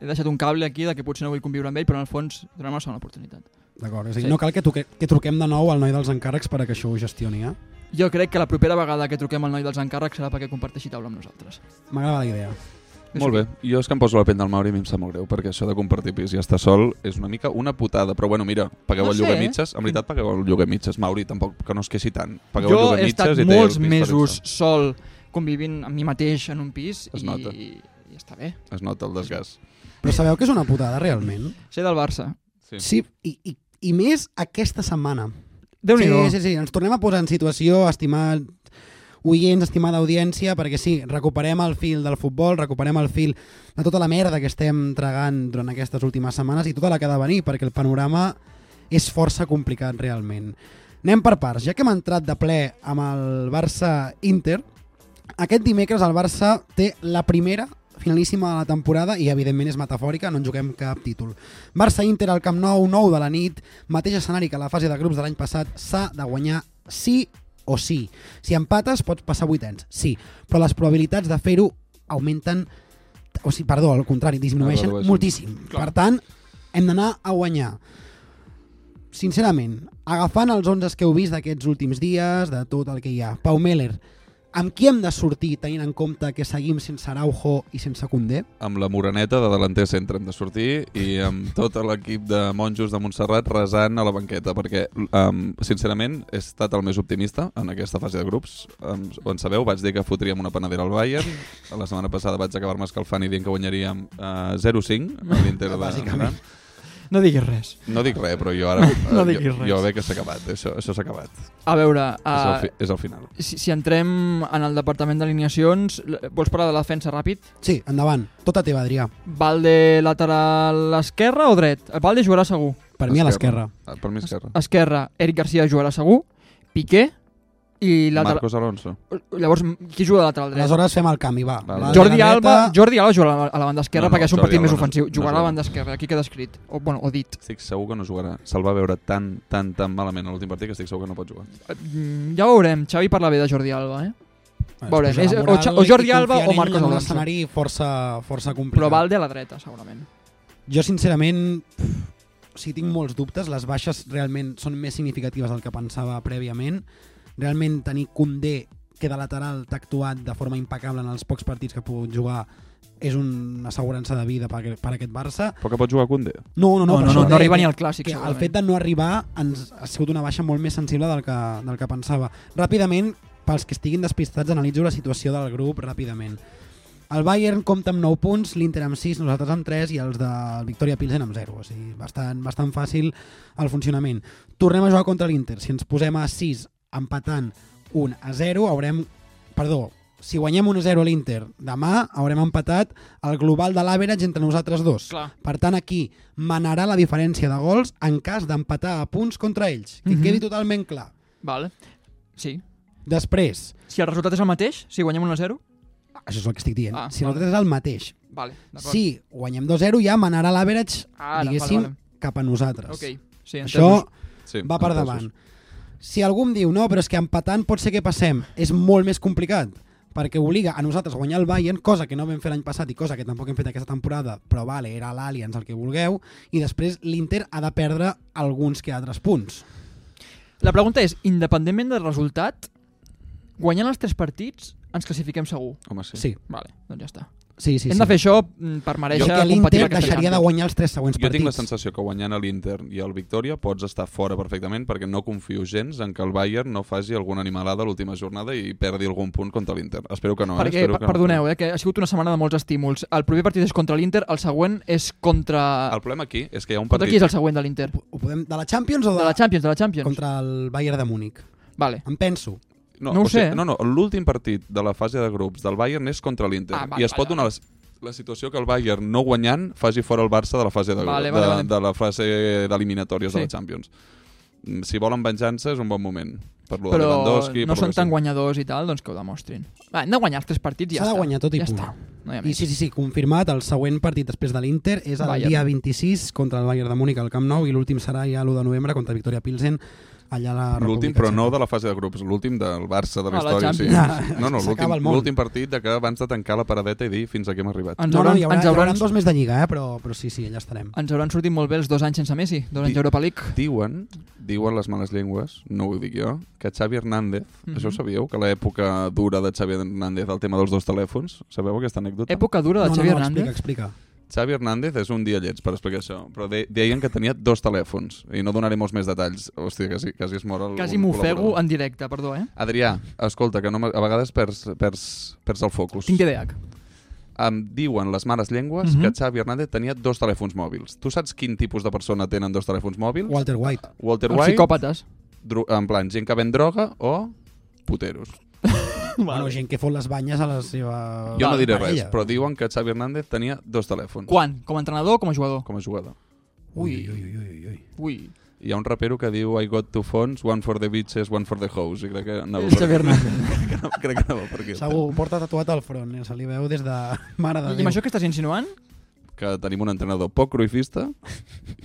Speaker 6: he deixat un cable aquí de que potser no vull conviure amb ell, però en el fons donem una segona oportunitat.
Speaker 5: D'acord, és a dir,
Speaker 6: Sí.
Speaker 5: no cal que, truque, que truquem de nou al noi dels encàrrecs per a que això ho gestioni, eh?
Speaker 6: Jo crec que la propera vegada que truquem al noi dels encàrrecs serà perquè comparteixi taula amb nosaltres.
Speaker 5: M'agrada la idea.
Speaker 7: Molt bé, jo és que em poso la pell del Mauri i a mi em sap molt greu, perquè això de compartir pis i estar sol és una mica una putada, però bueno, mira, pagueu
Speaker 6: No
Speaker 7: el
Speaker 6: sé,
Speaker 7: lloguer
Speaker 6: eh?
Speaker 7: mitges, en veritat pagueu el lloguer mitges, Mauri, tampoc que no es queixi tant. Pagueu
Speaker 6: jo
Speaker 7: el lloguer
Speaker 6: he estat
Speaker 7: mitges i té el
Speaker 6: molts
Speaker 7: pis per
Speaker 6: mesos sol convivint amb mi mateix en un pis
Speaker 7: Es
Speaker 6: i,
Speaker 7: nota.
Speaker 6: i està bé.
Speaker 7: ells. Es nota el desgast.
Speaker 5: Però sabeu que és una putada, realment?
Speaker 6: Ser del Barça.
Speaker 7: Sí.
Speaker 5: Sí, i, i, i més aquesta setmana.
Speaker 6: déu nhi
Speaker 5: Sí, sí, sí, ens tornem a posar en situació, estimat oients, estimada audiència, perquè sí, recuperem el fil del futbol, recuperem el fil de tota la merda que estem tragant durant aquestes últimes setmanes i tota la que ha de venir, perquè el panorama és força complicat realment. Anem per parts, ja que hem entrat de ple amb el Barça-Inter, aquest dimecres el Barça té la primera finalíssima de la temporada i evidentment és metafòrica, no en juguem cap títol. Barça-Inter al Camp Nou, 9 de la nit, mateix escenari que la fase de grups de l'any passat, s'ha de guanyar sí o sí. Si empates pots passar vuitens, sí, però les probabilitats de fer-ho augmenten, o sigui, perdó, al contrari, disminueixen
Speaker 7: Redueixen.
Speaker 5: moltíssim. Per tant, hem d'anar a guanyar. Sincerament, agafant els 11 que heu vist d'aquests últims dies, de tot el que hi ha, Pau Meller, amb qui hem de sortir tenint en compte que seguim sense Araujo i sense Condé?
Speaker 7: Amb la moreneta de delanter centre hem de sortir i amb tot l'equip de monjos de Montserrat resant a la banqueta, perquè, um, sincerament, he estat el més optimista en aquesta fase de grups. Um, on sabeu, vaig dir que fotríem una panadera al Bayern, la setmana passada vaig acabar-me escalfant i dient que guanyaríem uh, 0-5 a l'Inter de Bàsicament.
Speaker 6: No diguis res.
Speaker 7: No dic res, però jo ara...
Speaker 6: No
Speaker 7: eh,
Speaker 6: diguis
Speaker 7: jo,
Speaker 6: res.
Speaker 7: Jo veig que s'ha acabat, això, això s'ha acabat.
Speaker 6: A veure,
Speaker 7: és, el
Speaker 6: uh,
Speaker 7: fi, és el final.
Speaker 6: si, si entrem en el departament d'alineacions, l- vols parlar de la defensa ràpid?
Speaker 5: Sí, endavant, tota teva, Adrià.
Speaker 6: Valde lateral esquerra o dret? Valde jugarà segur.
Speaker 5: Per mi a l'esquerra.
Speaker 7: Ah, Per mi esquerra.
Speaker 6: Esquerra, Eric Garcia jugarà segur. Piqué i lateral...
Speaker 7: Marcos Alonso.
Speaker 6: Llavors, qui juga a lateral dret?
Speaker 5: Aleshores fem el canvi, va.
Speaker 7: Vale.
Speaker 5: Valde
Speaker 6: Jordi
Speaker 5: a la dreta.
Speaker 6: Alba, Jordi Alba jugarà a la- a la banda esquerra no,
Speaker 7: No,
Speaker 6: no,
Speaker 7: no,
Speaker 6: perquè és un
Speaker 7: Jordi
Speaker 6: partit més
Speaker 7: Alba no-
Speaker 6: ofensiu.
Speaker 7: no
Speaker 6: Jugarà a la
Speaker 7: jugarà.
Speaker 6: banda esquerra, aquí queda escrit. O, bueno, o dit.
Speaker 7: Estic segur que no jugarà. Se'l va veure tan, tan, tan malament a l'últim partit que estic segur que no pot jugar.
Speaker 6: Mm, Ja ho veurem. Xavi parla bé de Jordi Alba, eh?
Speaker 5: Ens
Speaker 6: Veurem,
Speaker 5: pujarà
Speaker 6: és- o
Speaker 5: moral
Speaker 6: Xa- o Jordi
Speaker 5: i
Speaker 6: Alba o
Speaker 5: confiant ell
Speaker 6: Marcos
Speaker 5: en un
Speaker 6: Alonso.
Speaker 5: escenari força, força complicat.
Speaker 6: Però Valde a la dreta, segurament.
Speaker 5: Jo, sincerament, pff, o sigui, tinc molts dubtes. Les baixes realment són més significatives del que pensava prèviament. Realment tenir Condé, que de lateral t'ha actuat de forma impecable en els pocs partits que ha pogut jugar, és una assegurança de vida per, per aquest Barça.
Speaker 7: Però que pot jugar Koundé.
Speaker 5: No, no, no.
Speaker 6: No,
Speaker 5: per
Speaker 6: no,
Speaker 5: això
Speaker 6: no,
Speaker 5: deia
Speaker 6: no arriba
Speaker 5: que-
Speaker 6: ni al clàssic,
Speaker 5: que el
Speaker 6: segurament.
Speaker 5: fet de no arribar ens ha sigut una baixa molt més sensible del que, del que pensava. Ràpidament, pels que estiguin despistats, analitzo la situació del grup ràpidament. El Bayern compta amb 9 punts, l'Inter amb 6, nosaltres amb 3 i els de Victoria Pilsen amb 0. O sigui, bastant, bastant fàcil el funcionament. Tornem a jugar contra l'Inter. Si ens posem a 6 empatant 1 a 0, haurem... Perdó, si guanyem 1 a 0 a l'Inter, demà haurem empatat el global de l'average entre nosaltres dos.
Speaker 6: Clar.
Speaker 5: Per tant, aquí manarà la diferència de gols en cas d'empatar a punts contra ells. Que
Speaker 6: Mhm.
Speaker 5: quedi totalment clar.
Speaker 6: Vale. Sí.
Speaker 5: Després,
Speaker 6: Si el resultat és el mateix, si guanyem 1-0,
Speaker 5: això és el que estic dient,
Speaker 6: Ah,
Speaker 5: si
Speaker 6: vale.
Speaker 5: nosaltres és el mateix,
Speaker 6: vale, d'acord.
Speaker 5: si guanyem 2-0 ja manarà l'average,
Speaker 6: Ara, vale,
Speaker 5: diguéssim,
Speaker 6: vale.
Speaker 5: cap a nosaltres.
Speaker 6: Ok, sí, entesos.
Speaker 5: Això
Speaker 7: Sí,
Speaker 5: va per
Speaker 7: entesos.
Speaker 5: davant. Si algú em diu, no, però és que empatant pot ser que passem, és molt més complicat perquè obliga a nosaltres a guanyar el Bayern, cosa que no vam fer l'any passat i cosa que tampoc hem fet aquesta temporada, però vale, era l'Allianz el que vulgueu, i després l'Inter ha de perdre alguns que altres punts.
Speaker 6: La pregunta és, independentment del resultat, guanyant els tres partits, ens classifiquem segur.
Speaker 7: Home, sí.
Speaker 5: Sí,
Speaker 6: Vale, doncs ja està.
Speaker 5: sí, sí.
Speaker 6: Hem
Speaker 5: sí.
Speaker 6: de fer això mm, per mereixer
Speaker 5: que
Speaker 6: competir
Speaker 5: l'Inter
Speaker 6: la
Speaker 5: deixaria de guanyar els tres següents
Speaker 7: Jo tinc la
Speaker 5: partits.
Speaker 7: sensació que guanyant a l'Inter i el Victòria pots estar fora perfectament perquè no confio gens en que el Bayern no faci alguna animalada a l'última jornada i perdi algun punt contra l'Inter. Espero que no, eh?
Speaker 6: Perquè,
Speaker 7: Espero
Speaker 6: pa-
Speaker 7: que
Speaker 6: perdoneu,
Speaker 7: no.
Speaker 6: eh, que ha sigut una setmana de molts estímuls. El primer partit és contra l'Inter, el següent és contra...
Speaker 7: El problema aquí és que hi ha un
Speaker 6: Contra
Speaker 7: partit...
Speaker 6: qui és el següent de l'Inter?
Speaker 5: Ho podem, de la Champions o de,
Speaker 6: De la Champions, de la Champions.
Speaker 5: contra el Bayern de Múnich?
Speaker 6: Vale.
Speaker 5: Em penso.
Speaker 7: No,
Speaker 6: No ho
Speaker 7: o sigui,
Speaker 6: sé.
Speaker 7: No, no, l'últim partit de la fase de grups del Bayern és contra l'Inter.
Speaker 6: Ah,
Speaker 7: Ah,
Speaker 6: va,
Speaker 7: I es
Speaker 6: va,
Speaker 7: pot
Speaker 6: va.
Speaker 7: donar la, la situació que el Bayern, no guanyant, faci fora el Barça de la fase de,
Speaker 6: Vale,
Speaker 7: de,
Speaker 6: vale, vale.
Speaker 7: de la fase d'eliminatòries sí.
Speaker 6: Sí.
Speaker 7: de la Champions. mm, si volen venjança és un bon moment. Per lo de
Speaker 6: Però
Speaker 7: Lewandowski,
Speaker 6: no
Speaker 7: per lo
Speaker 6: són
Speaker 7: que
Speaker 6: tan
Speaker 7: sigui.
Speaker 6: guanyadors i tal, doncs que ho demostrin. Va, hem de guanyar els tres partits i ja
Speaker 5: S'ha
Speaker 6: està.
Speaker 5: de guanyar tot i
Speaker 6: ja
Speaker 5: punt.
Speaker 6: està. No hi ha
Speaker 5: I
Speaker 6: més.
Speaker 5: sí, sí, sí, confirmat, el següent partit després de l'Inter és el
Speaker 6: Bayern.
Speaker 5: dia 26 contra el Bayern de Múnich al Camp Nou i l'últim serà ja l'1 de novembre contra Victoria Pilsen allà a la
Speaker 7: L'últim,
Speaker 5: República
Speaker 7: però no
Speaker 5: Txeca.
Speaker 7: de la fase de grups, l'últim del Barça de la
Speaker 6: Ah, la
Speaker 7: història. Sí.
Speaker 5: Champions.
Speaker 7: No, no,
Speaker 5: S'acaba
Speaker 7: l'últim
Speaker 5: el món.
Speaker 7: l'últim partit de que abans de tancar la paradeta i dir fins aquí hem arribat.
Speaker 6: Ens
Speaker 5: No, no,
Speaker 6: hauran,
Speaker 5: hi haurà,
Speaker 6: ens, Ah,
Speaker 5: hi hauran
Speaker 6: hauran,
Speaker 5: dos més de lliga, eh? però, però sí, sí, allà estarem.
Speaker 6: ens hauran sortit molt bé els dos anys sense Messi, dos anys
Speaker 7: Di-
Speaker 6: Europa League.
Speaker 7: Diuen, diuen les males llengües, no ho dic jo, que Xavi Hernández,
Speaker 6: Mhm.
Speaker 7: això ho sabíeu, que l'època dura de Xavi Hernández, el tema dels dos telèfons, sabeu aquesta anècdota?
Speaker 6: Època dura de
Speaker 5: no,
Speaker 6: Xavi
Speaker 5: no, no,
Speaker 6: Hernández.
Speaker 5: Explica, explica.
Speaker 7: Xavi Hernández és un dia lleig per explicar això, però de, deien que tenia dos telèfons, i no donaré molts més detalls. Hòstia, quasi, quasi es mor el...
Speaker 6: Quasi
Speaker 7: un
Speaker 6: m'ofego
Speaker 7: col·laborador.
Speaker 6: en directe, perdó, eh?
Speaker 7: Adrià, escolta, que no, m'ha- a vegades perds, perds, perds el focus.
Speaker 6: Tinc TDAH.
Speaker 7: Em diuen les mares llengües
Speaker 6: Mhm.
Speaker 7: que Xavi Hernández tenia dos telèfons mòbils. Tu saps quin tipus de persona tenen dos telèfons mòbils?
Speaker 5: Walter White.
Speaker 7: Walter
Speaker 6: Els
Speaker 7: White,
Speaker 6: psicòpates.
Speaker 7: dro- en plan, gent que ven droga o puteros.
Speaker 5: Bueno, gent que fot les banyes a la seva...
Speaker 7: Jo no diré res,
Speaker 5: parella.
Speaker 7: però diuen que Xavi Hernández tenia dos telèfons
Speaker 6: Quan? Com a entrenador o com a jugador?
Speaker 7: com a jugador.
Speaker 5: Ui, ui, ui, ui, ui.
Speaker 6: Ui,
Speaker 7: Hi ha un rapero que diu I got two phones, one for the bitches, one for the hoes, i crec que anava
Speaker 6: és
Speaker 7: per-
Speaker 6: Xavi Hernández.
Speaker 7: crec que no, crec que no va per aquí.
Speaker 5: Segur, porta tatuat al front, eh? se li veu des de Mare de
Speaker 6: I amb
Speaker 5: Déu.
Speaker 6: això que estàs insinuant?
Speaker 7: Que tenim un entrenador poc cruifista.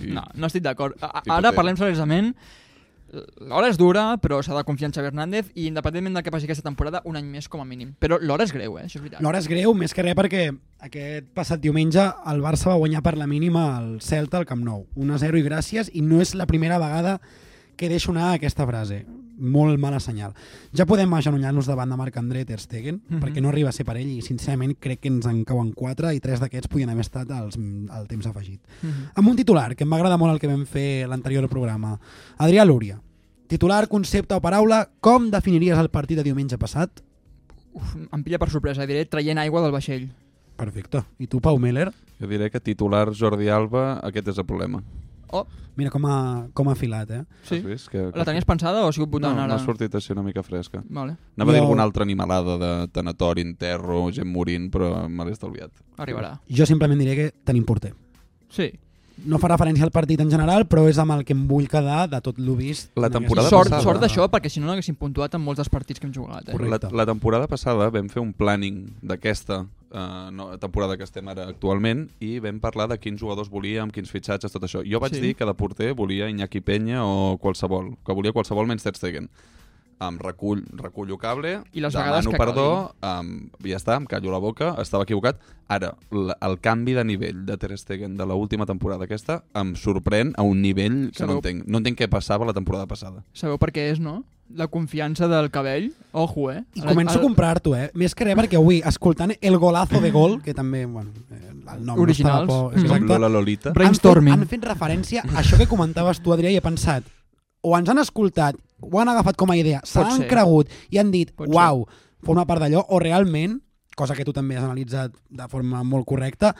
Speaker 7: I...
Speaker 6: No, no estic d'acord. A- a-
Speaker 7: Tipus
Speaker 6: Ara
Speaker 7: teu.
Speaker 6: parlem seriosament. L'hora és dura, però s'ha de confiar en Xavi Hernández i independentment del que passi aquesta temporada, un any més com a mínim. Però l'hora és greu, eh? Això és veritat.
Speaker 5: L'hora és greu, més que res perquè aquest passat diumenge el Barça va guanyar per la mínima el Celta al Camp Nou. 1-0 i gràcies, i no és la primera vegada que deixo anar aquesta frase. Molt mala senyal. Ja podem agenollar-nos davant de Marc André Ter Stegen, mm
Speaker 6: Mhm.
Speaker 5: -hmm. perquè no arriba a ser per ell, i sincerament crec que ens en cauen 4 i 3 d'aquests podien haver estat els, el temps afegit. Mm
Speaker 6: Mhm.
Speaker 5: -hmm. Amb un titular, que em va agradar molt el que vam fer a l'anterior programa. Adrià Lúria. Titular, concepte o paraula, com definiries el partit de diumenge passat?
Speaker 6: Uf, em pilla per sorpresa, diré traient aigua del vaixell.
Speaker 5: Perfecte. I tu, Pau Meller?
Speaker 7: Jo diré que titular Jordi Alba, aquest és el problema.
Speaker 6: Oh,
Speaker 5: Mira com ha, com ha filat, eh?
Speaker 6: sí.
Speaker 7: Has vist? Que,
Speaker 6: La tenies pensada o ha sigut
Speaker 7: No,
Speaker 6: votant ara?
Speaker 7: m'ha sortit així una mica fresca.
Speaker 6: Vale,
Speaker 7: Anava a dir
Speaker 5: Jo-
Speaker 7: alguna altra animalada de tanatori, enterro, gent morint, però me l'he estalviat.
Speaker 6: arribarà.
Speaker 5: Jo simplement diré que tenim porter.
Speaker 6: Sí.
Speaker 5: No fa referència al partit en general, però és amb el que em vull quedar de tot lo vist.
Speaker 7: La
Speaker 5: en
Speaker 7: temporada
Speaker 5: aquesta
Speaker 6: Sort,
Speaker 7: passada.
Speaker 6: sort d'això, perquè si no no haguéssim puntuat en molts dels partits que hem jugat. Eh?
Speaker 7: La,
Speaker 5: Correcte.
Speaker 7: la temporada passada vam fer un planning d'aquesta eh, no, temporada que estem ara actualment i vam parlar de quins jugadors volíem, quins fitxatges, tot això. Jo vaig
Speaker 6: Sí.
Speaker 7: sí. dir que de porter volia Iñaki Penya o qualsevol, que volia qualsevol menys Ter Stegen. Em recull, recullo cable,
Speaker 6: I les vegades
Speaker 7: demano
Speaker 6: que
Speaker 7: perdó, em, ja està, em callo la boca, estava equivocat. Ara, l- el canvi de nivell de Ter Stegen de l'última temporada aquesta em sorprèn a un nivell que
Speaker 6: Sabeu-
Speaker 7: no entenc. No entenc què passava la temporada passada.
Speaker 6: Sabeu per què és, no? La confiança del cabell. Ojo, eh?
Speaker 5: I començo a comprar-t'ho, eh? Més que res perquè avui, escoltant el golazo de gol, que també, bueno, eh, el nom
Speaker 6: Originals.
Speaker 5: no estava por...
Speaker 6: Mm.
Speaker 7: Com
Speaker 5: Exacte.
Speaker 7: Lola Lolita.
Speaker 6: Brainstorming.
Speaker 5: Han fet, han fet referència a això que comentaves tu, Adrià, i he pensat, o ens han escoltat, ho han agafat com a idea, se
Speaker 6: Pot
Speaker 5: l'han
Speaker 6: ser.
Speaker 5: cregut i han dit,
Speaker 6: Pot
Speaker 5: uau, forma part d'allò, o realment, cosa que tu també has analitzat de forma molt correcta,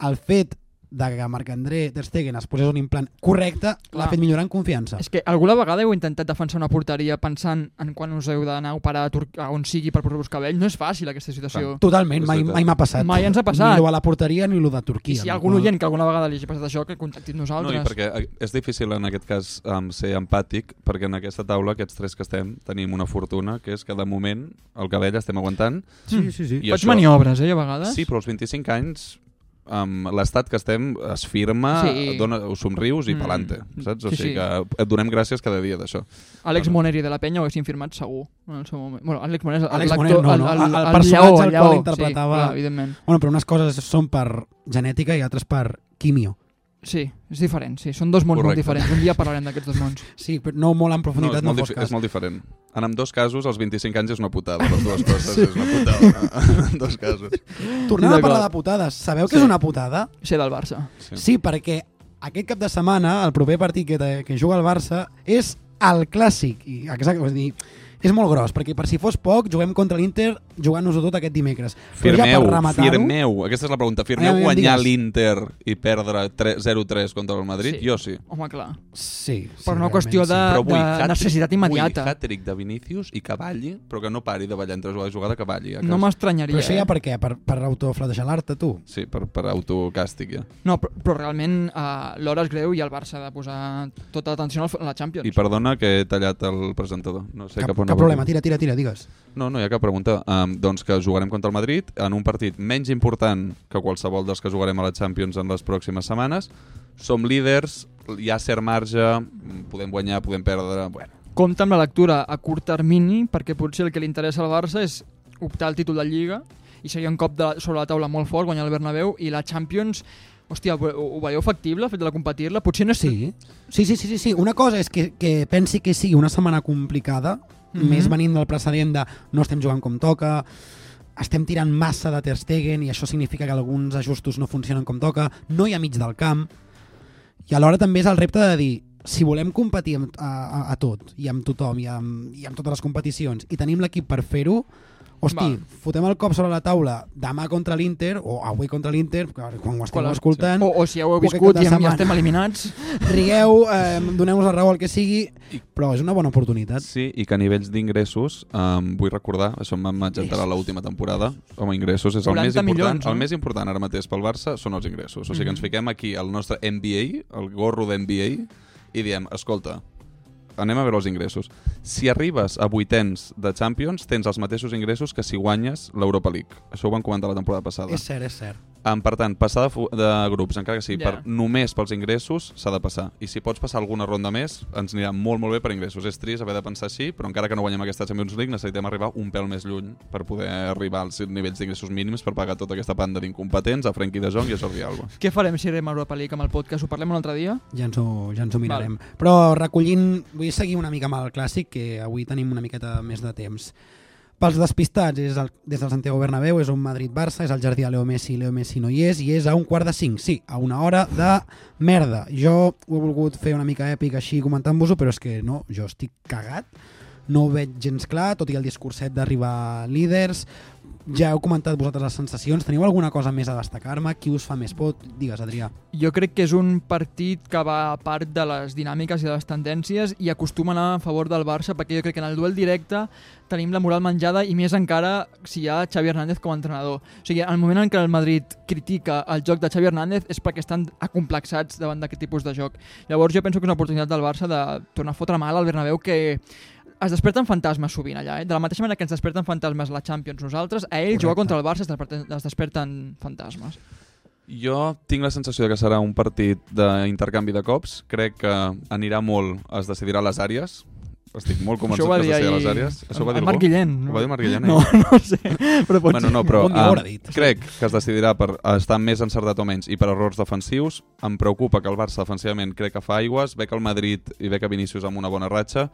Speaker 5: el fet de que Marc-André Ter Stegen es posés un implant correcte l'ha
Speaker 6: Clar.
Speaker 5: fet millorar en
Speaker 7: Ah.
Speaker 5: confiança.
Speaker 6: És que alguna vegada heu intentat defensar una porteria pensant en quan us heu d'anar a operar a, Tur a on sigui per portar-vos cabell. No és fàcil, aquesta situació.
Speaker 5: Totalment,
Speaker 7: És
Speaker 5: mai,
Speaker 7: veritat.
Speaker 5: mai m'ha passat.
Speaker 6: Mai ens ha passat.
Speaker 5: Ni lo a la porteria ni lo de
Speaker 6: I
Speaker 5: Turquia.
Speaker 6: si
Speaker 5: amb
Speaker 6: hi
Speaker 5: la
Speaker 6: ha algun
Speaker 5: qual-
Speaker 6: oient que alguna vegada li hagi passat això, que contacti amb
Speaker 7: No,
Speaker 6: nosaltres.
Speaker 7: i perquè eh, és difícil en aquest cas um, ser empàtic, perquè en aquesta taula, aquests tres que estem, tenim una fortuna, que és que de moment el cabell estem aguantant.
Speaker 5: Sí, sí, sí.
Speaker 7: I
Speaker 6: Faig maniobres, eh, jo a vegades.
Speaker 7: Sí, però als 25 anys um, l'estat que estem es firma,
Speaker 6: Sí.
Speaker 7: sí. dona, ho somrius i
Speaker 6: Mm.
Speaker 7: mm. pelante, saps? O
Speaker 6: Sí,
Speaker 7: sí, sigui
Speaker 6: sí.
Speaker 7: que et donem gràcies cada dia d'això.
Speaker 6: Àlex
Speaker 7: Bueno.
Speaker 6: Moneri de la penya ho haguessin firmat segur en el seu moment. Bueno, Àlex Moneri,
Speaker 5: Àlex
Speaker 6: l'actor-
Speaker 5: Moneri, no, no,
Speaker 6: el,
Speaker 5: el
Speaker 6: el,
Speaker 5: personatge
Speaker 6: lleó,
Speaker 5: al
Speaker 6: el
Speaker 5: qual
Speaker 6: lleó,
Speaker 5: interpretava-
Speaker 6: Sí, clar, evidentment.
Speaker 5: Bueno, però unes coses són per genètica i altres per quimio.
Speaker 6: Sí, és diferent, sí. Són dos mons
Speaker 7: Correcte.
Speaker 6: molt diferents. Un dia parlarem d'aquests dos mons.
Speaker 5: Sí, però no molt en
Speaker 7: No,
Speaker 5: profunditat,
Speaker 7: és,
Speaker 5: no,
Speaker 7: molt
Speaker 5: fos
Speaker 7: difi-
Speaker 5: cas.
Speaker 7: és molt diferent. En amb dos casos, als 25 anys és una putada. Les dues coses és una putada. en dos casos.
Speaker 5: Tornant a
Speaker 6: D'acord.
Speaker 5: parlar de putades, sabeu què
Speaker 6: Sí.
Speaker 5: és una putada?
Speaker 6: Ser del Barça.
Speaker 7: Sí.
Speaker 5: Sí, perquè aquest cap de setmana, el proper partit que, que juga el Barça és el clàssic. I exacte, és a dir, És molt gros, perquè per si fos poc, juguem contra l'Inter jugant-nos-ho tot aquest dimecres. Però ja
Speaker 7: Firmeu,
Speaker 5: per rematar-ho-
Speaker 7: firmeu. Aquesta és la pregunta.
Speaker 5: Ah,
Speaker 7: Firmeu
Speaker 5: ja em
Speaker 7: guanyar
Speaker 5: digues.
Speaker 7: l'Inter i perdre tre- 0-3 contra el Madrid?
Speaker 6: Sí.
Speaker 7: Jo sí.
Speaker 6: Home, clar.
Speaker 5: Sí, sí,
Speaker 6: Per una
Speaker 5: realment,
Speaker 6: qüestió
Speaker 5: sí.
Speaker 6: de-
Speaker 7: Però vull
Speaker 6: de
Speaker 7: hat-trick-
Speaker 6: necessitat immediata.
Speaker 7: Vull hat-trick de Vinícius i que balli, però que no pari de ballar entre jugades, jugada que balli. a
Speaker 6: No
Speaker 7: casa.
Speaker 6: m'estranyaria.
Speaker 5: Però això ja
Speaker 6: eh?
Speaker 5: per què? Per, per autoflagelar-te, tu?
Speaker 7: Sí, per, per autocàstig, ja.
Speaker 6: No, però, però realment eh, l'hora és greu i el Barça ha de posar tota l'atenció al- a la Champions.
Speaker 7: I perdona que he tallat el presentador. No sé
Speaker 5: cap,
Speaker 7: cap, on
Speaker 5: cap
Speaker 7: anava.
Speaker 5: problema, tira, tira, tira, digues.
Speaker 7: No, no hi ha cap pregunta. Um, doncs que jugarem contra el Madrid en un partit menys important que qualsevol dels que jugarem a la Champions en les pròximes setmanes. Som líders, hi ha cert marge, mm, podem guanyar, podem perdre... Bueno,
Speaker 6: Compte amb la lectura a curt termini, perquè potser el que li interessa al Barça és optar al títol de Lliga i seria un cop de, sobre la taula molt fort, guanyar el Bernabéu i la Champions... Hòstia, ho, ho veieu factible, el fet de la competir-la? Potser no és...
Speaker 5: Sí. Sí, sí, sí, sí, sí. Una cosa és que, que pensi que sigui una setmana complicada, mm
Speaker 6: Mhm.
Speaker 5: -hmm. més venint del precedent de no estem jugant com toca, estem tirant massa de Ter Stegen i això significa que alguns ajustos no funcionen com toca, no hi ha mig del camp, i alhora també és el repte de dir si volem competir amb, a, a, a tot i amb tothom i amb, i amb totes les competicions i tenim l'equip per fer-ho hosti,
Speaker 6: Val.
Speaker 5: fotem el cop sobre la taula demà contra l'Inter o avui contra l'Inter quan ho esteu
Speaker 6: Quan-
Speaker 5: escoltant
Speaker 6: O, o si ja ho heu
Speaker 5: Poc
Speaker 6: viscut
Speaker 5: aquest de
Speaker 6: i, ja
Speaker 5: setmana.
Speaker 6: estem eliminats...
Speaker 5: rigueu, eh, doneu-nos la raó al que sigui, però és una bona oportunitat.
Speaker 7: sí, i que a nivells d'ingressos, um, vull recordar, això em a l'última temporada, com a ingressos és el més
Speaker 6: 40
Speaker 7: important.
Speaker 6: milions, no?
Speaker 7: El més important ara mateix pel Barça són els ingressos. O sigui que ens
Speaker 6: Mhm.
Speaker 7: fiquem aquí al nostre NBA, el gorro d'NBA, i diem, escolta, anem a veure els ingressos. Si arribes a vuitens de Champions, tens els mateixos ingressos que si guanyes l'Europa League. Això ho vam comentar la temporada passada.
Speaker 5: És cert, és cert.
Speaker 7: Um, per tant, passar de, fu- de grups, encara que sigui
Speaker 6: Ja.
Speaker 7: yeah. per, només pels ingressos, s'ha de passar. I si pots passar alguna ronda més, ens anirà molt, molt bé per ingressos. És trist haver de pensar així, però encara que no guanyem aquesta Champions League, necessitem arribar un pèl més lluny per poder arribar als nivells d'ingressos mínims per pagar tota aquesta panda d'incompetents a Frenkie de Jong i a Jordi Alba.
Speaker 6: Què farem si anem a Europa League amb el podcast? Ho parlem un altre dia?
Speaker 5: Ja ens ho, ja ens ho mirarem. Però recollint, vull seguir una mica amb el clàssic, que avui tenim una miqueta més de temps. Pels despistats, és el, des del Santiago Bernabéu, és un Madrid-Barça, és el jardí de Leo Messi, Leo Messi no hi és, i és a un quart de cinc, sí, a una hora de merda. Jo ho he volgut fer una mica èpic així comentant-vos-ho, però és que no, jo estic cagat, no ho veig gens clar, tot i el discurset d'arribar líders, ja heu comentat vosaltres les sensacions, teniu alguna cosa més a destacar-me? Qui us fa més por? Digues, Adrià.
Speaker 6: Jo crec que és un partit que va a part de les dinàmiques i de les tendències i acostuma a anar a favor del Barça perquè jo crec que en el duel directe tenim la moral menjada i més encara si hi ha Xavi Hernández com a entrenador. O sigui, en el moment en què el Madrid critica el joc de Xavi Hernández és perquè estan acomplexats davant d'aquest tipus de joc. Llavors jo penso que és una oportunitat del Barça de tornar a fotre mal al Bernabéu que es desperten fantasmes sovint allà, eh? De la mateixa manera que ens desperten fantasmes la Champions nosaltres, a ell jugar contra el Barça es desperten, es desperten fantasmes.
Speaker 7: Jo tinc la sensació de que serà un partit d'intercanvi de cops. Crec que anirà molt, es decidirà a les àrees. Estic molt convençut que es decidirà a les àrees. Això ho va dir
Speaker 6: en Marc
Speaker 7: algú?
Speaker 6: Guillén.
Speaker 7: Ho va dir Marc Guillén,
Speaker 6: No,
Speaker 7: eh?
Speaker 6: no sé. Però pot
Speaker 7: Bueno, no, però
Speaker 5: Bon dia,
Speaker 7: ah,
Speaker 5: bona nit.
Speaker 7: crec que es decidirà per estar més encertat o menys i per errors defensius. Em preocupa que el Barça defensivament crec que fa aigües, ve que el Madrid i ve que Vinícius amb una bona ratxa.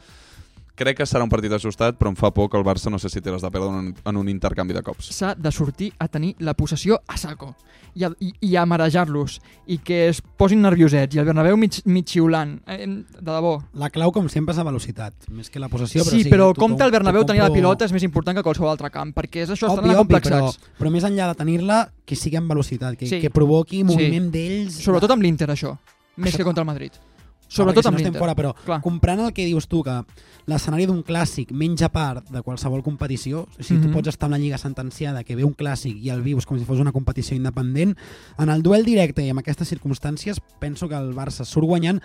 Speaker 7: Crec que serà un partit ajustat, però em fa por que el Barça no sé si té les de perdre en un, en un intercanvi de cops.
Speaker 6: s'ha de sortir a tenir la possessió a saco i a, i, i a marejar-los i que es posin nerviosets i el Bernabéu mig, mig xiulant eh, de debò
Speaker 5: La clau, com sempre, és la velocitat, més que la possessió. Però
Speaker 6: sí, però
Speaker 5: tothom-
Speaker 6: compte el Bernabéu
Speaker 5: tothom
Speaker 6: tenir la
Speaker 5: pro-
Speaker 6: pilota és més important que qualsevol altre camp perquè és això, estan
Speaker 5: Obvi, obvi, però,
Speaker 6: complexats
Speaker 5: però més enllà de tenir-la, que sigui amb velocitat, que,
Speaker 6: Sí.
Speaker 5: sí. que provoqui
Speaker 6: Sí.
Speaker 5: moviment d'ells.
Speaker 6: sobretot amb l'Inter això, més
Speaker 5: Això-
Speaker 6: que contra el Madrid
Speaker 5: Clar,
Speaker 6: sobretot
Speaker 5: perquè si
Speaker 6: amb
Speaker 5: no estem
Speaker 6: l'Inter
Speaker 5: fora, però
Speaker 6: Clar.
Speaker 5: comprant el que dius tu, que l'escenari d'un clàssic menja part de qualsevol competició, o sigui,
Speaker 6: Mhm.
Speaker 5: tu pots estar en la lliga sentenciada que ve un clàssic i el vius com si fos una competició independent, en el duel directe i amb aquestes circumstàncies penso que el Barça surt guanyant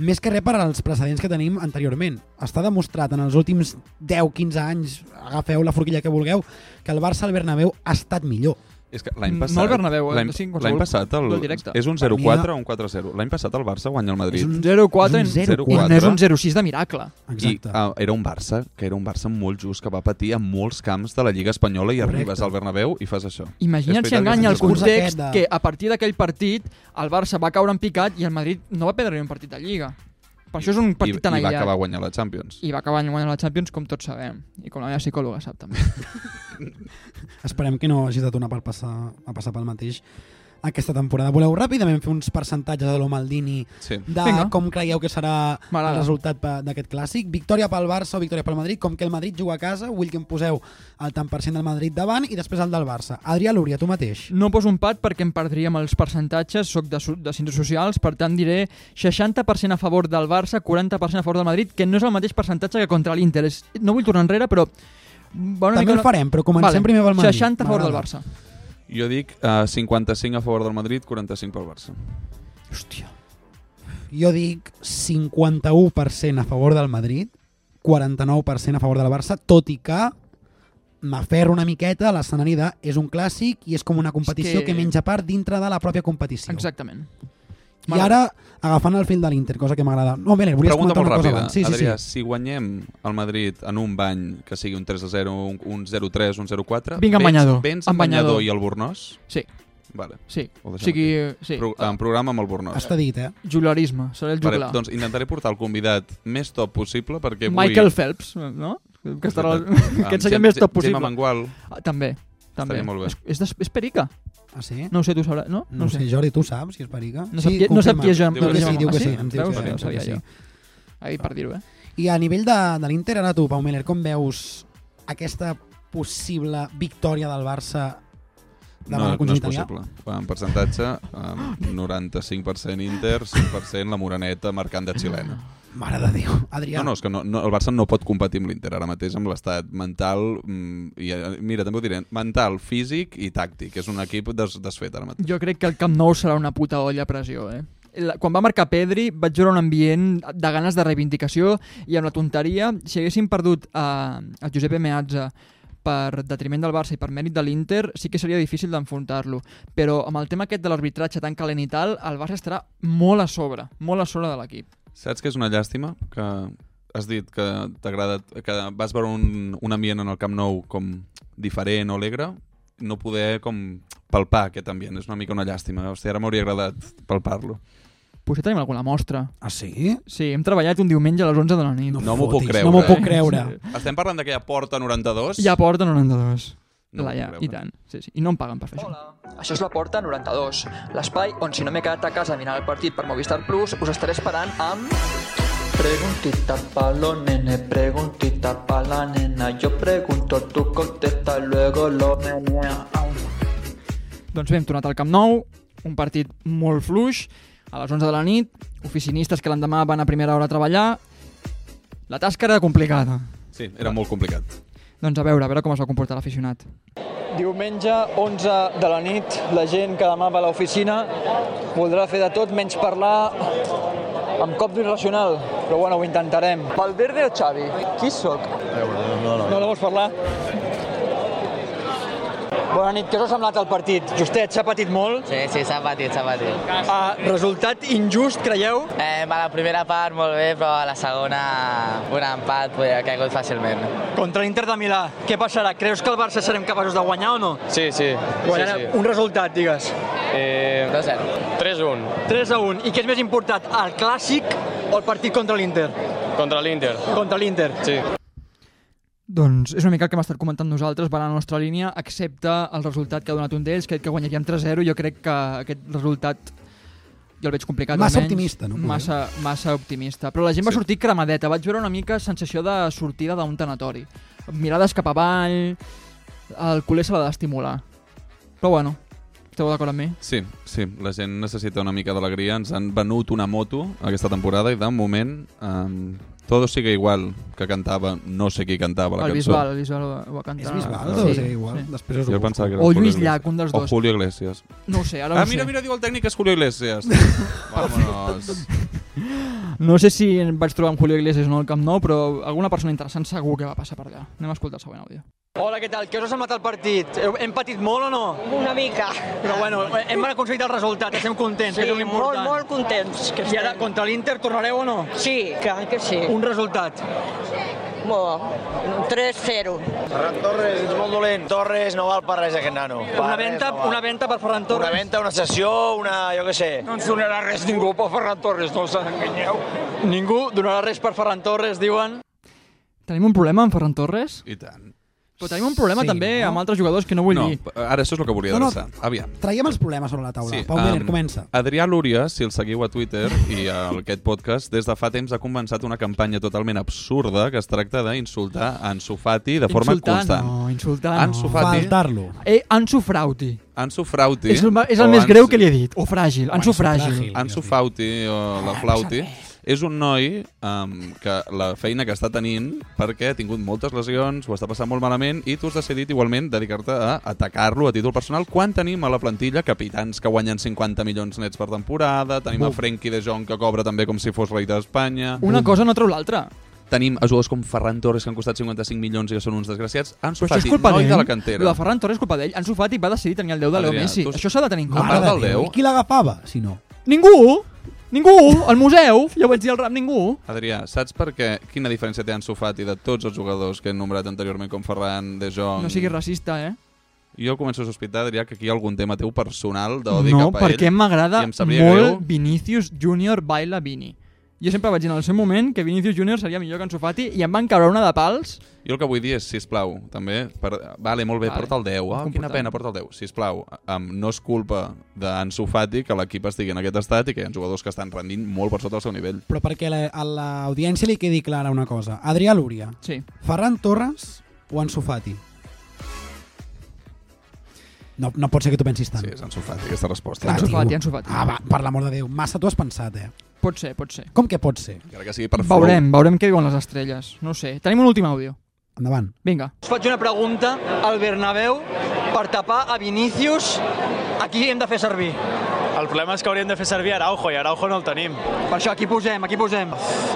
Speaker 5: més que res per als precedents que tenim anteriorment. Està demostrat en els últims 10-15 anys, agafeu la forquilla que vulgueu, que el Barça al Bernabéu ha estat millor.
Speaker 7: És que l'any
Speaker 5: Mm,
Speaker 6: No
Speaker 7: passat...
Speaker 6: al Bernabéu, eh?
Speaker 7: l'any-
Speaker 6: Sí, en qualsevol
Speaker 7: L'any passat... El,
Speaker 6: del directe.
Speaker 7: és un
Speaker 5: Per mi
Speaker 7: 0-4
Speaker 5: no.
Speaker 7: o un 4-0. L'any passat el Barça guanya el
Speaker 5: És
Speaker 7: Madrid.
Speaker 5: un
Speaker 6: 0-4
Speaker 5: és un
Speaker 6: i
Speaker 5: 0-4.
Speaker 6: no és un 0-6 de miracle
Speaker 5: Exacte.
Speaker 7: I ah, era un Barça, que era un Barça molt just, que va patir en molts camps de la Lliga Espanyola i
Speaker 5: Correcte.
Speaker 7: arribes al Bernabéu i fas això.
Speaker 6: Imagina't
Speaker 7: És
Speaker 6: si
Speaker 7: veritat que
Speaker 6: enganya el
Speaker 7: és un discurs
Speaker 6: context
Speaker 5: aquest de-
Speaker 6: que a partir d'aquell partit el Barça va caure en picat i el Madrid no va perdre ni un partit de Lliga. Per això és un
Speaker 7: I,
Speaker 6: partit tan
Speaker 7: I va
Speaker 6: aïllat.
Speaker 7: acabar guanyant la Champions.
Speaker 6: I va acabar guanyant la Champions com tots sabem i com la meva psicòloga sap també.
Speaker 5: Esperem que no hagis de tornar per passar, a passar pel mateix. aquesta temporada. Voleu ràpidament fer uns percentatges de l'Omaldini
Speaker 7: Sí.
Speaker 5: de
Speaker 6: Vinga.
Speaker 5: com creieu que serà
Speaker 6: M'agrada.
Speaker 5: el resultat pa- d'aquest clàssic. Victòria pel Barça o victòria pel Madrid, com que el Madrid juga a casa, vull que em poseu el tant per cent del Madrid davant i després el del Barça. Adrià Lúria, tu mateix.
Speaker 6: No poso un pat perquè em perdríem els percentatges, soc de, so- de ciències socials, per tant diré 60% a favor del Barça, 40% a favor del Madrid, que no és el mateix percentatge que contra l'Inter. És- No vull tornar enrere, però... Bueno,
Speaker 5: També el farem, però comencem primer pel Madrid.
Speaker 6: 60 a favor del
Speaker 5: M'agrada.
Speaker 6: Barça.
Speaker 7: Jo dic eh, 55 a favor del Madrid, 45 pel Barça.
Speaker 6: Hòstia.
Speaker 5: Jo dic 51% a favor del Madrid, 49% a favor del Barça, tot i que m'aferro una miqueta a l'escenari de és un clàssic i és com una competició
Speaker 6: que-
Speaker 5: que... menja part dintre de la pròpia competició.
Speaker 6: Exactament.
Speaker 5: I ara, agafant el fil de l'Inter, cosa que m'agrada... No, bé, volies
Speaker 7: Pregunta
Speaker 5: comentar
Speaker 7: molt
Speaker 5: una cosa
Speaker 7: ràpida.
Speaker 5: abans. Sí, sí,
Speaker 7: Adrià,
Speaker 5: sí.
Speaker 7: si guanyem el Madrid en un bany, que sigui un 3-0, un, un 0-3, un 0-4...
Speaker 6: Vinc amb
Speaker 7: vens-
Speaker 6: banyador,
Speaker 7: Vens
Speaker 6: amb
Speaker 7: amb banyador,
Speaker 6: banyador.
Speaker 7: i el Bornós?
Speaker 6: Sí,
Speaker 7: Vale.
Speaker 6: sí.
Speaker 7: Ho
Speaker 6: O
Speaker 7: deixem
Speaker 6: sigui, sí. eh,
Speaker 7: Pro, en programa amb el Bornós.
Speaker 5: Està dit, eh?
Speaker 6: Juglarisme, seré el
Speaker 7: Vale,
Speaker 6: juglar.
Speaker 7: doncs eh, intentaré portar el convidat més top possible perquè avui...
Speaker 6: Michael Phelps, eh, no? Que estarà...
Speaker 7: Amb
Speaker 6: Aquest seria
Speaker 7: Gem-
Speaker 6: el més top
Speaker 7: Gem- Gemma
Speaker 6: possible.
Speaker 7: Mangual.
Speaker 6: Ah, també, també.
Speaker 7: Estaria molt bé.
Speaker 6: És, és, des- és perica.
Speaker 5: Ah, sí?
Speaker 6: No ho sé, tu ho sabràs, no?
Speaker 5: No, sé. Jordi, tu saps si és perica?
Speaker 6: No, sap, qui, no sap qui és Joan
Speaker 7: Diu que
Speaker 5: Diu que sí,
Speaker 7: Joan-
Speaker 5: diu que
Speaker 7: Ah,
Speaker 5: sí.
Speaker 7: sí?
Speaker 5: Em diu
Speaker 6: Veus?
Speaker 5: que,
Speaker 6: Ja ho
Speaker 5: em diu
Speaker 6: sabia
Speaker 5: que sí.
Speaker 6: jo. Ahir per dir-ho, eh?
Speaker 5: I a nivell de, de l'Inter, ara tu, Pau Miller, com veus aquesta possible victòria del Barça davant
Speaker 7: No,
Speaker 5: el
Speaker 7: no
Speaker 5: conjunt
Speaker 7: és
Speaker 5: italià?
Speaker 7: possible. En percentatge, um, 95% Inter, 5% la Moraneta marcant de xilena.
Speaker 5: Mare de Déu. Adrià,
Speaker 7: No, no, és que no, no, el Barça no pot competir amb l'Inter ara mateix amb l'estat mental, mm, i, eh, mira, també ho diré, mental, físic i tàctic. És un equip des, desfet ara mateix.
Speaker 6: Jo crec que el Camp Nou serà una puta olla a pressió, eh? La, quan va marcar Pedri vaig veure un ambient de ganes de reivindicació i amb la tonteria, si haguéssim perdut eh, a, a Giuseppe Meazza per detriment del Barça i per mèrit de l'Inter sí que seria difícil d'enfrontar-lo però amb el tema aquest de l'arbitratge tan calent i tal el Barça estarà molt a sobre molt a sobre de l'equip
Speaker 7: Saps que és una llàstima que has dit que t'agrada que vas veure un, un ambient en el Camp Nou com diferent o alegre, no poder com palpar aquest ambient. És una mica una llàstima. Hòstia, ara m'hauria agradat palpar-lo.
Speaker 6: potser tenim alguna mostra
Speaker 5: Ah, sí?
Speaker 6: sí, hem treballat un diumenge a les 11 de la nit
Speaker 7: No m'ho puc
Speaker 5: fotis,
Speaker 7: creure,
Speaker 5: No m'ho puc
Speaker 7: eh?
Speaker 5: creure.
Speaker 7: Estem parlant d'aquella porta 92?
Speaker 6: ja porta 92
Speaker 7: No
Speaker 6: no
Speaker 7: m'ho
Speaker 6: Laia,
Speaker 7: puc
Speaker 6: i
Speaker 7: creure.
Speaker 6: tant. Sí, sí. I no em paguen per fer Hola.
Speaker 11: Això és la porta 92, l'espai on si no m'he quedat a casa mirant el partit per Movistar Plus, us estaré esperant amb... Preguntita pa' los nenes, preguntita pa' la nena, yo pregunto, tú contesta, luego lo menea. Au.
Speaker 6: això. Doncs bé, hem tornat al Camp Nou, un partit molt fluix, a les 11 de la nit, oficinistes que l'endemà van a primera hora a treballar. La tasca era complicada.
Speaker 7: Sí, era molt complicat.
Speaker 6: Doncs a veure, a veure com es va comportar l'aficionat.
Speaker 11: Diumenge, 11 de la nit, la gent que demà va a l'oficina voldrà fer de tot menys parlar amb cop d'irracional, però bueno, ho intentarem. Valverde o Xavi? Qui sóc? Eh, No, no, no. No la vols parlar? Bona nit, què us ha semblat el partit? Justet, s'ha patit molt.
Speaker 3: Sí, sí, s'ha patit, s'ha patit.
Speaker 11: Ah, resultat injust, creieu?
Speaker 3: Eh, a la primera part molt bé, però a la segona un empat podria haver caigut fàcilment.
Speaker 11: Contra l'Inter de Milà. Què passarà? Creus que el Barça serem capaços de guanyar o no?
Speaker 3: Sí, sí.
Speaker 11: Guanyarà un resultat, digues.
Speaker 3: Eh, 2-0. 3-1.
Speaker 11: 3 a 1. I què és més important, el clàssic o el partit contra l'Inter?
Speaker 3: Contra l'Inter.
Speaker 11: Contra l'Inter.
Speaker 3: Sí.
Speaker 6: Doncs és una mica el que hem estat comentant nosaltres, va anar a la nostra línia, excepte el resultat que ha donat un d'ells, que ha dit que guanyaríem 3-0, jo crec que aquest resultat jo el veig complicat.
Speaker 5: Massa
Speaker 6: almenys.
Speaker 5: optimista, no?
Speaker 6: Massa, massa optimista. Però la gent va sortir cremadeta, vaig veure una mica sensació de sortida d'un tanatori. Mirades cap avall, el culer se l'ha d'estimular. Però bueno, esteu d'acord amb mi?
Speaker 7: Sí, sí, la gent necessita una mica d'alegria. Ens han venut una moto aquesta temporada i de moment um, todo sigue igual que cantava, no sé qui cantava la
Speaker 6: el
Speaker 7: cançó.
Speaker 6: Bisbal, el Bisbal ho, ho ha cantat.
Speaker 5: És Bisbal,
Speaker 7: Sí,
Speaker 5: o sigui, igual.
Speaker 6: sí.
Speaker 5: Després us ho
Speaker 7: Jo
Speaker 5: busco.
Speaker 7: pensava que era
Speaker 6: O
Speaker 7: Julio
Speaker 6: Lluís
Speaker 7: Iglesias.
Speaker 6: Llach, un dels
Speaker 7: O
Speaker 6: dos.
Speaker 7: Julio Iglesias.
Speaker 6: No ho sé, ara
Speaker 7: Ah,
Speaker 6: no ho
Speaker 7: mira,
Speaker 6: sé.
Speaker 7: mira, diu el tècnic que és Julio Iglesias. Vámonos.
Speaker 6: No sé si em vaig trobar amb Julio Iglesias o no al Camp Nou, però alguna persona interessant segur que va passar per allà. Anem a escoltar el següent àudio.
Speaker 11: Hola, què tal? Què us ha semblat el partit? Heu- Hem patit molt o no?
Speaker 3: Una mica.
Speaker 11: Però bueno, hem aconseguit el resultat, estem contents, que és l'important.
Speaker 3: contents. Que
Speaker 11: I ara contra l'Inter tornareu o no?
Speaker 3: Sí, clar que sí.
Speaker 11: Un resultat.
Speaker 3: 3-0.
Speaker 2: Torres, ets molt dolent. Torres no val per res, aquest nano.
Speaker 11: Una venta, una venta per Ferran Torres.
Speaker 2: venta, una sessió, una... jo què sé.
Speaker 11: No ens donarà res ningú per Ferran Torres, no us enganyeu. Ningú donarà res per Ferran Torres, diuen.
Speaker 6: Tenim un problema amb Ferran Torres?
Speaker 7: I tant.
Speaker 6: O Però tenim un problema
Speaker 5: Sí,
Speaker 6: sí, també no? amb altres jugadors que no vull
Speaker 7: no,
Speaker 6: dir.
Speaker 7: ara això és el que volia
Speaker 5: No, no.
Speaker 7: adreçar. Aviam.
Speaker 5: Traiem els problemes sobre la taula. Sí, Pau um... Miller,
Speaker 7: em,
Speaker 5: comença.
Speaker 7: Adrià Lúria, si el seguiu a Twitter i a aquest podcast, des de fa temps ha començat una campanya totalment absurda que es tracta d'insultar a Ansu Fati de forma
Speaker 6: insultar,
Speaker 7: constant.
Speaker 6: no, insultar no.
Speaker 7: Ansu Fati,
Speaker 6: Eh, Ansu Frauti.
Speaker 7: Ansu Frauti...
Speaker 6: És el, ma- és
Speaker 7: o
Speaker 6: el més
Speaker 7: Ansu-
Speaker 6: greu que li he dit. O fràgil. Ansu fràgil.
Speaker 7: Ansu Fauti, o la Flauti, és un noi um, que la feina que està tenint perquè ha tingut moltes lesions, ho està passant molt malament i tu has decidit igualment dedicar-te a atacar-lo a títol personal quan tenim a la plantilla capitans que guanyen 50 milions nets per temporada, tenim a
Speaker 6: Bum.
Speaker 7: Frenkie de Jong que cobra també com si fos rei d'Espanya.
Speaker 6: Una cosa no treu l'altra.
Speaker 7: Tenim a jugadors com Ferran Torres que han costat 55 milions i que són uns desgraciats. Ansu
Speaker 6: Però això és
Speaker 7: Fati,
Speaker 6: culpa
Speaker 7: noi
Speaker 6: d'ell.
Speaker 7: de la cantera.
Speaker 6: Lo de Ferran Torres és culpa d'ell. Ansu Fati va decidir tenir el 10 de Leo
Speaker 7: Adrià,
Speaker 6: Messi.
Speaker 7: tu- Ah.
Speaker 6: Això s'ha de tenir en
Speaker 7: Mare
Speaker 6: compte.
Speaker 7: de Déu.
Speaker 5: I qui l'agafava, si no?
Speaker 6: Ningú! Ningú! Al museu! Ja ho vaig dir al rap, ningú!
Speaker 7: Adrià, saps per què, quina diferència té Ansu Fati de tots els jugadors que hem nombrat anteriorment com Ferran, De Jong...
Speaker 6: No siguis racista, eh?
Speaker 7: Jo començo a sospitar, Adrià, que aquí hi ha algun tema teu personal d'odi
Speaker 6: no,
Speaker 7: cap a ell.
Speaker 6: perquè m'agrada
Speaker 7: i em
Speaker 6: molt
Speaker 7: sabria greu.
Speaker 6: Vinicius Junior baila Vini. Jo sempre vaig dir en el seu moment que Vinicius Junior seria millor que Ansu Fati i em van caure una de pals.
Speaker 7: Jo el que vull dir és, sisplau, també... Per... Vale, molt bé,
Speaker 6: Vale.
Speaker 7: vale. porta el 10. Oh,
Speaker 6: Comportament.
Speaker 7: quina pena, porta el 10. Sisplau, um, no és culpa d'Ansu Fati que l'equip estigui en aquest estat i que hi ha jugadors que estan rendint molt per sota el seu nivell.
Speaker 5: Però perquè la- a l'audiència li quedi clara una cosa. Adrià Lúria,
Speaker 6: sí.
Speaker 5: Ferran Torres o Ansu Fati? No, no pot ser que tu pensis tant.
Speaker 7: Sí, és Ansu Fati, aquesta resposta.
Speaker 5: Clar,
Speaker 6: Ansu
Speaker 5: tio.
Speaker 6: Fati, Ansu Fati.
Speaker 5: Ah, va, per l'amor de Déu, massa tu has pensat, eh?
Speaker 6: Pot ser, pot ser.
Speaker 5: Com que pot ser?
Speaker 7: Encara que sigui per
Speaker 6: Veurem, veurem què diuen les estrelles. No ho sé. Tenim un últim àudio.
Speaker 5: Endavant.
Speaker 6: Vinga.
Speaker 12: Us faig una pregunta al Bernabéu per tapar a Vinícius. A qui hem de fer servir?
Speaker 13: El problema és que hauríem de fer servir Araujo i Araujo no el tenim.
Speaker 12: Per això, aquí posem, aquí posem.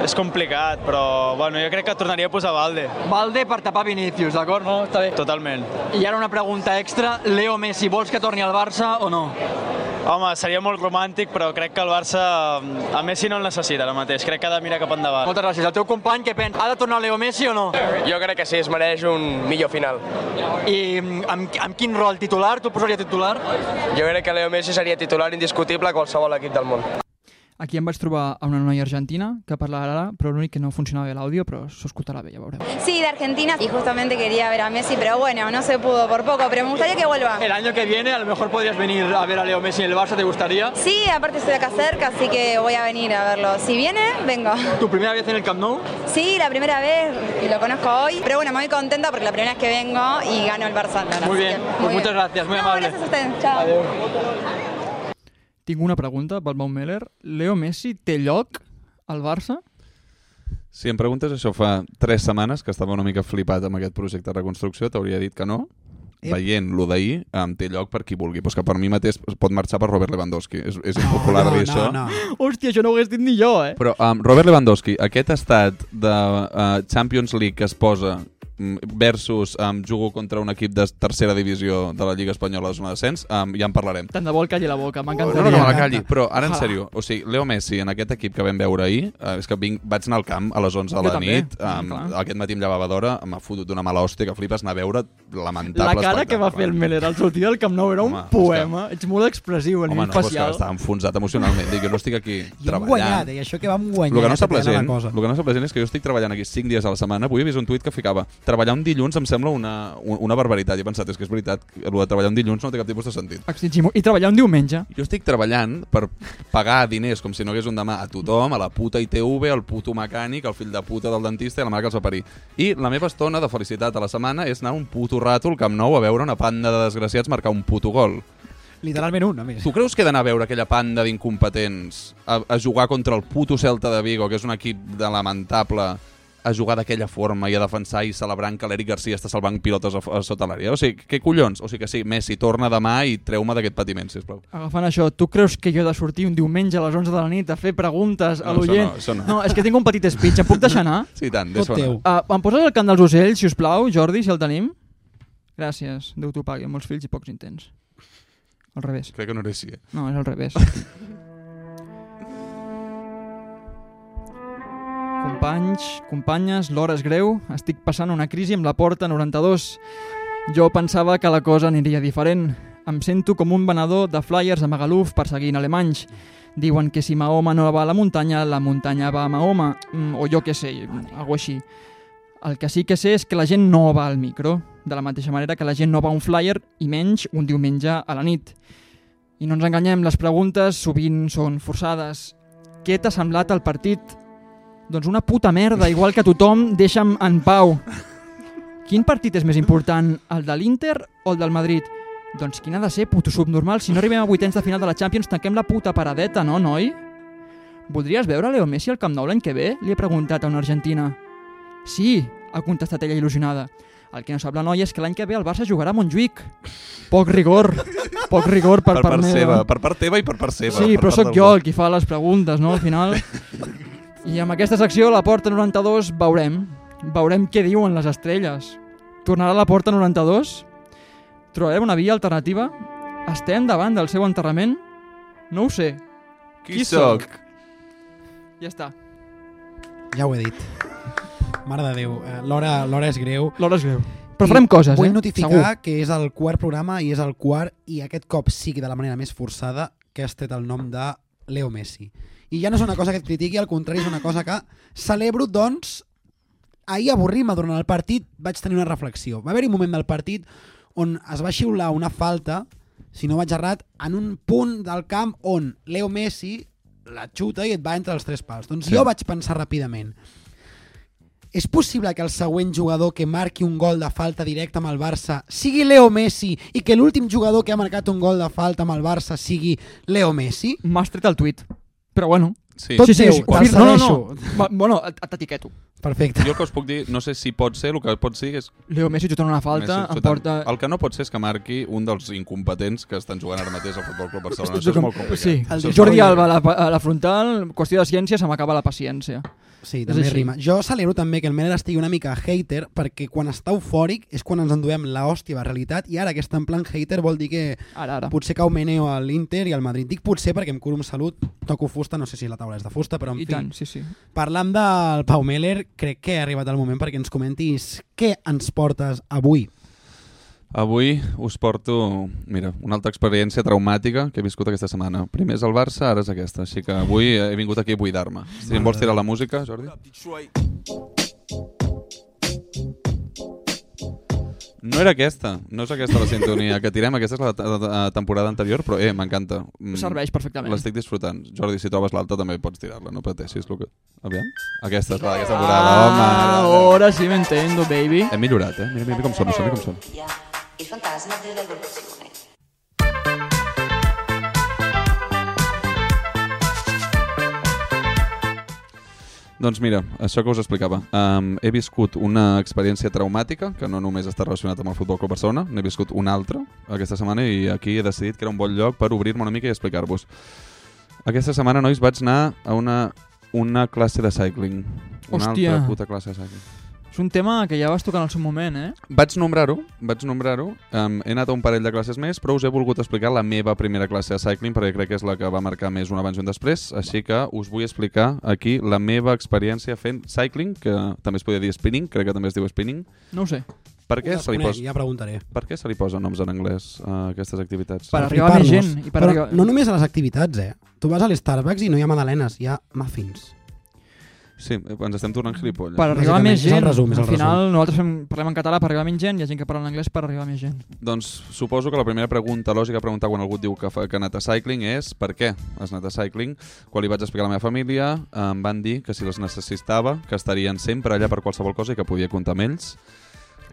Speaker 13: És complicat, però bueno, jo crec que tornaria a posar Valde. Oh,
Speaker 12: Valde per tapar Vinícius, d'acord? No, està bé.
Speaker 13: Totalment.
Speaker 12: I ara una pregunta extra. Leo Messi, vols que torni al Barça o no?
Speaker 13: Home, seria molt romàntic, però crec que el Barça mm, a Messi no el necessita ara mateix. Crec que ha de mirar cap endavant.
Speaker 12: Moltes gràcies. El teu company, què pensa? Ha de tornar Leo Messi o no?
Speaker 14: Jo crec que sí, es mereix un millor final.
Speaker 12: I mm, amb, amb quin rol titular? Tu el posaria titular?
Speaker 14: Jo crec que Leo Messi seria titular indiscutible a qualsevol equip del món.
Speaker 6: Aquí em vaig trobar a una noia argentina que parlarà ara, però l'únic que no funcionava bé l'àudio, però s'ho escoltarà bé, ja veureu.
Speaker 15: Sí, de Argentina. Y justamente quería ver a Messi, pero bueno, no se pudo por poco, pero me gustaría que vuelva.
Speaker 12: El año que viene a lo mejor podrías venir a ver a Leo Messi en el Barça, ¿te gustaría?
Speaker 15: Sí, aparte estoy acá cerca, así que voy a venir a verlo. Si viene, vengo.
Speaker 12: ¿Tu primera vez en el Camp Nou?
Speaker 15: Sí, la primera vez y lo conozco hoy, pero bueno, me voy contenta porque la primera vez que vengo y gano el Barça. Andorra,
Speaker 12: Muy
Speaker 15: así
Speaker 12: bien,
Speaker 15: que
Speaker 12: pues
Speaker 15: muy
Speaker 12: muchas
Speaker 15: bien.
Speaker 12: gracias, muy
Speaker 15: No,
Speaker 12: amable.
Speaker 15: gracias a ustedes. Chao.
Speaker 6: Tinc una pregunta pel Mau Meller. Leo Messi té lloc al Barça?
Speaker 7: Si em preguntes això fa 3 setmanes, que estava una mica flipat amb aquest projecte de reconstrucció, t'hauria dit que no.
Speaker 6: Eh.
Speaker 5: Ep.
Speaker 7: Veient lo d'ahir, em té lloc per qui vulgui. Però és que per mi mateix es pot marxar per Robert Lewandowski. És, és impopular dir això.
Speaker 6: Hòstia, això no ho hagués dit ni jo, eh?
Speaker 7: Però um, Robert Lewandowski, aquest estat de uh, Champions League que es posa mm, versus um, jugo contra un equip de tercera divisió de la Lliga Espanyola de zona d'ascens, um, ja en parlarem.
Speaker 6: Tant de bo el calli la boca,
Speaker 7: No,
Speaker 6: m'encantaria.
Speaker 7: no, no me la calli, però ara en
Speaker 6: Ojalà.
Speaker 7: sèrio, o sigui, Leo Messi en aquest equip que vam veure ahir, eh, és que vinc, vaig anar al camp a les 11 de
Speaker 6: Jo
Speaker 7: la
Speaker 6: també,
Speaker 7: nit,
Speaker 6: mm,
Speaker 7: um,
Speaker 6: clar.
Speaker 7: aquest matí em llevava d'hora, m'ha fotut una mala hòstia que flipes anar a veure lamentable
Speaker 6: La cara que va fer el Meller al sortir del Camp Nou era un poema. Ets molt expressiu a
Speaker 7: Home,
Speaker 6: nivell
Speaker 7: no, però és que
Speaker 6: facial.
Speaker 7: estava enfonsat emocionalment, dic, jo no estic aquí
Speaker 5: Hem
Speaker 7: treballant.
Speaker 5: guanyat, eh? I això que vam guanyar.
Speaker 7: el que no està
Speaker 5: que tenen
Speaker 7: present,
Speaker 5: la cosa.
Speaker 7: el que no està present és que jo estic treballant aquí 5 dies a la setmana. Avui he vist un tuit que ficava treballar un dilluns em sembla una, un- una barbaritat. I he pensat, és que és veritat, el de treballar un dilluns no té cap tipus de sentit.
Speaker 6: Exigimo. I treballar un diumenge.
Speaker 7: Jo estic treballant per pagar diners com si no hagués un demà a tothom, a la puta ITV, al puto mecànic, al fill de puta del dentista i a la mare que els va parir. I la meva estona de felicitat a la setmana és anar un puto rato al Camp Nou a veure una panda de desgraciats marcar un puto gol.
Speaker 5: Literalment un, a més.
Speaker 7: Tu creus que he d'anar a veure aquella panda d'incompetents a, a jugar contra el puto Celta de Vigo, que és un equip de lamentable, a jugar d'aquella forma i a defensar i celebrant que l'Eric Garcia està salvant pilotes a, a sota l'àrea? O sigui, què collons? O sigui que sí, Messi, torna demà i treu-me d'aquest patiment, sisplau.
Speaker 6: Agafant això, tu creus que jo he de sortir un diumenge a les 11 de la nit a fer preguntes a
Speaker 7: No, això
Speaker 6: l'oient?
Speaker 7: no, això no.
Speaker 6: no, és que tinc un petit speech. Em puc deixar anar?
Speaker 7: Sí, i tant, deixa-ho anar.
Speaker 6: Uh, em poses el cant dels ocells, si us plau, Jordi, si el tenim? Gràcies, Déu t'ho pagui, amb molts fills i pocs intents. Al revés.
Speaker 7: Crec que no era així, eh?
Speaker 6: No, és al revés. Companys, companyes, l'hora és greu. Estic passant una crisi amb la porta 92. Jo pensava que la cosa aniria diferent. Em sento com un venedor de flyers a Magaluf perseguint alemanys. Diuen que si Mahoma no va a la muntanya, la muntanya va a Mahoma. Mm, o jo què sé, alguna així. El que sí que sé és que la gent no va al micro, de la mateixa manera que la gent no va a un flyer i menys un diumenge a la nit. I no ens enganyem, les preguntes sovint són forçades. Què t'ha semblat el partit? Doncs una puta merda, igual que tothom, deixa'm en pau. Quin partit és més important, el de l'Inter o el del Madrid? Doncs quin ha de ser, puto subnormal? Si no arribem a vuitens de final de la Champions, tanquem la puta paradeta, no, noi? Voldries veure Leo Messi al Camp Nou l'any que ve? Li he preguntat a una argentina. Sí, ha contestat ella il·lusionada. El que no sap la noia és que l'any que ve el Barça jugarà a Montjuïc. Poc rigor, poc rigor per,
Speaker 7: Per
Speaker 6: part,
Speaker 7: part
Speaker 6: meva.
Speaker 7: seva, per part teva i per part seva,
Speaker 6: Sí,
Speaker 7: per
Speaker 6: però
Speaker 7: part
Speaker 6: sóc
Speaker 7: del
Speaker 6: jo
Speaker 7: Barça.
Speaker 6: el qui fa les preguntes, no?, al final. I amb aquesta secció, la Porta 92, veurem. Veurem què diuen les estrelles. Tornarà a la Porta 92? Trobarem una via alternativa? Estem davant del seu enterrament? No ho sé.
Speaker 7: Qui sóc?
Speaker 6: Ja està.
Speaker 5: Ja ho he dit. Mare de Déu, eh, l'hora l'hora és greu.
Speaker 6: L'hora és greu. Però farem coses,
Speaker 5: vull
Speaker 6: eh?
Speaker 5: notificar
Speaker 6: Segur.
Speaker 5: que és el quart programa i és el quart, i aquest cop sí que de la manera més forçada, que has tret el nom de Leo Messi. I ja no és una cosa que et critiqui, al contrari, és una cosa que celebro, doncs, ahir avorrim-me durant el partit, vaig tenir una reflexió. Va haver-hi un moment del partit on es va xiular una falta, si no vaig errat, en un punt del camp on Leo Messi la xuta i et va entre els tres pals. Doncs
Speaker 7: Sí.
Speaker 5: jo vaig pensar ràpidament, és possible que el següent jugador que marqui un gol de falta directa amb el Barça sigui Leo Messi i que l'últim jugador que ha marcat un gol de falta amb el Barça sigui Leo Messi?
Speaker 6: M'has tret el tuit, però bueno.
Speaker 7: Sí.
Speaker 5: Tot
Speaker 7: Sí, sí,
Speaker 5: teu,
Speaker 7: sí,
Speaker 5: te'l
Speaker 7: confirmo.
Speaker 6: No, no,
Speaker 5: cedeixo.
Speaker 6: no. Va, bueno, et- t'etiqueto.
Speaker 5: Perfecte.
Speaker 7: Jo el que us puc dir, no sé si pot ser, el que pot ser és...
Speaker 6: Leo Messi xutant una falta, em
Speaker 7: xutant.
Speaker 6: porta-
Speaker 7: El que no pot ser és que marqui un dels incompetents que estan jugant ara mateix al Futbol Club Barcelona.
Speaker 6: Estic
Speaker 7: Això és
Speaker 6: com-
Speaker 7: molt complicat.
Speaker 6: Sí,
Speaker 7: Això és
Speaker 6: Jordi
Speaker 7: molt
Speaker 6: Alba a la, a la frontal, qüestió de ciència, se m'acaba la paciència.
Speaker 5: Sí,
Speaker 6: És
Speaker 5: també
Speaker 6: així.
Speaker 5: rima. Jo celebro també que el Miller estigui una mica hater perquè quan està eufòric és quan ens enduem la hòstia de realitat i ara que està en plan hater vol dir que
Speaker 6: ara, ara.
Speaker 5: potser cau meneo a l'Inter i al Madrid. Dic potser perquè em curo amb salut, toco fusta, no sé si la taula és de fusta, però en
Speaker 6: I
Speaker 5: fi.
Speaker 6: tant, sí, sí.
Speaker 5: Parlant del Pau Meller, crec que ha arribat el moment perquè ens comentis què ens portes avui.
Speaker 7: Avui us porto, mira, una altra experiència traumàtica que he viscut aquesta setmana. Primer és el Barça, ara és aquesta. Així que avui he vingut aquí a buidar-me. Si em vols tirar la música, Jordi? No era aquesta, no és aquesta la sintonia que tirem, aquesta és la ta- ta- temporada anterior, però eh, m'encanta. Mm,
Speaker 6: Serveix perfectament.
Speaker 7: L'estic disfrutant. Jordi, si trobes l'alta també pots tirar-la, no pateixis. Lo que... Aviam? Aquesta és la d'aquesta temporada,
Speaker 6: Ah,
Speaker 7: home.
Speaker 6: Ahora sí me entiendo, baby.
Speaker 7: Hem millorat, eh? Mira, mira, mira com sona, sona com sona.
Speaker 16: Il fantasma dell'evoluzione.
Speaker 7: Doncs mira, això que us explicava. Um, he viscut una experiència traumàtica que no només està relacionada amb el Futbol Club Barcelona, n'he viscut una altra aquesta setmana i aquí he decidit que era un bon lloc per obrir-me una mica i explicar-vos. Aquesta setmana, nois, vaig anar a una, una classe de cycling. Una
Speaker 6: Hòstia.
Speaker 7: altra puta classe de cycling.
Speaker 6: És un tema que ja vas tocar en el seu moment, eh?
Speaker 7: Vaig nombrar-ho, vaig nombrar-ho. Um, he anat a un parell de classes més, però us he volgut explicar la meva primera classe de cycling perquè crec que és la que va marcar més un abans i un després, així que us vull explicar aquí la meva experiència fent cycling, que també es podia dir spinning, crec que també es diu spinning.
Speaker 6: No ho sé.
Speaker 7: Per què,
Speaker 5: Ho
Speaker 7: se li
Speaker 5: desconec,
Speaker 7: posa...
Speaker 5: ja preguntaré.
Speaker 7: per què se li posa noms en anglès a aquestes activitats?
Speaker 5: flipar-nos. Però no només a les activitats, eh? Tu vas a l'Starbucks i no hi ha magdalenes, hi ha muffins.
Speaker 7: Sí, ens estem tornant gilipolles.
Speaker 6: Per arribar a més
Speaker 5: és el
Speaker 6: gent.
Speaker 5: resum, és el
Speaker 6: Al final, nosaltres fem, parlem en català per arribar a més gent, hi ha gent que parla en anglès per arribar a més gent.
Speaker 7: Doncs suposo que la primera pregunta lògica a preguntar quan algú et diu que, fa, que ha anat a cycling és per què has anat a cycling. Quan li vaig explicar a la meva família eh, em van dir que si les necessitava que estarien sempre allà per qualsevol cosa i que podia comptar amb ells.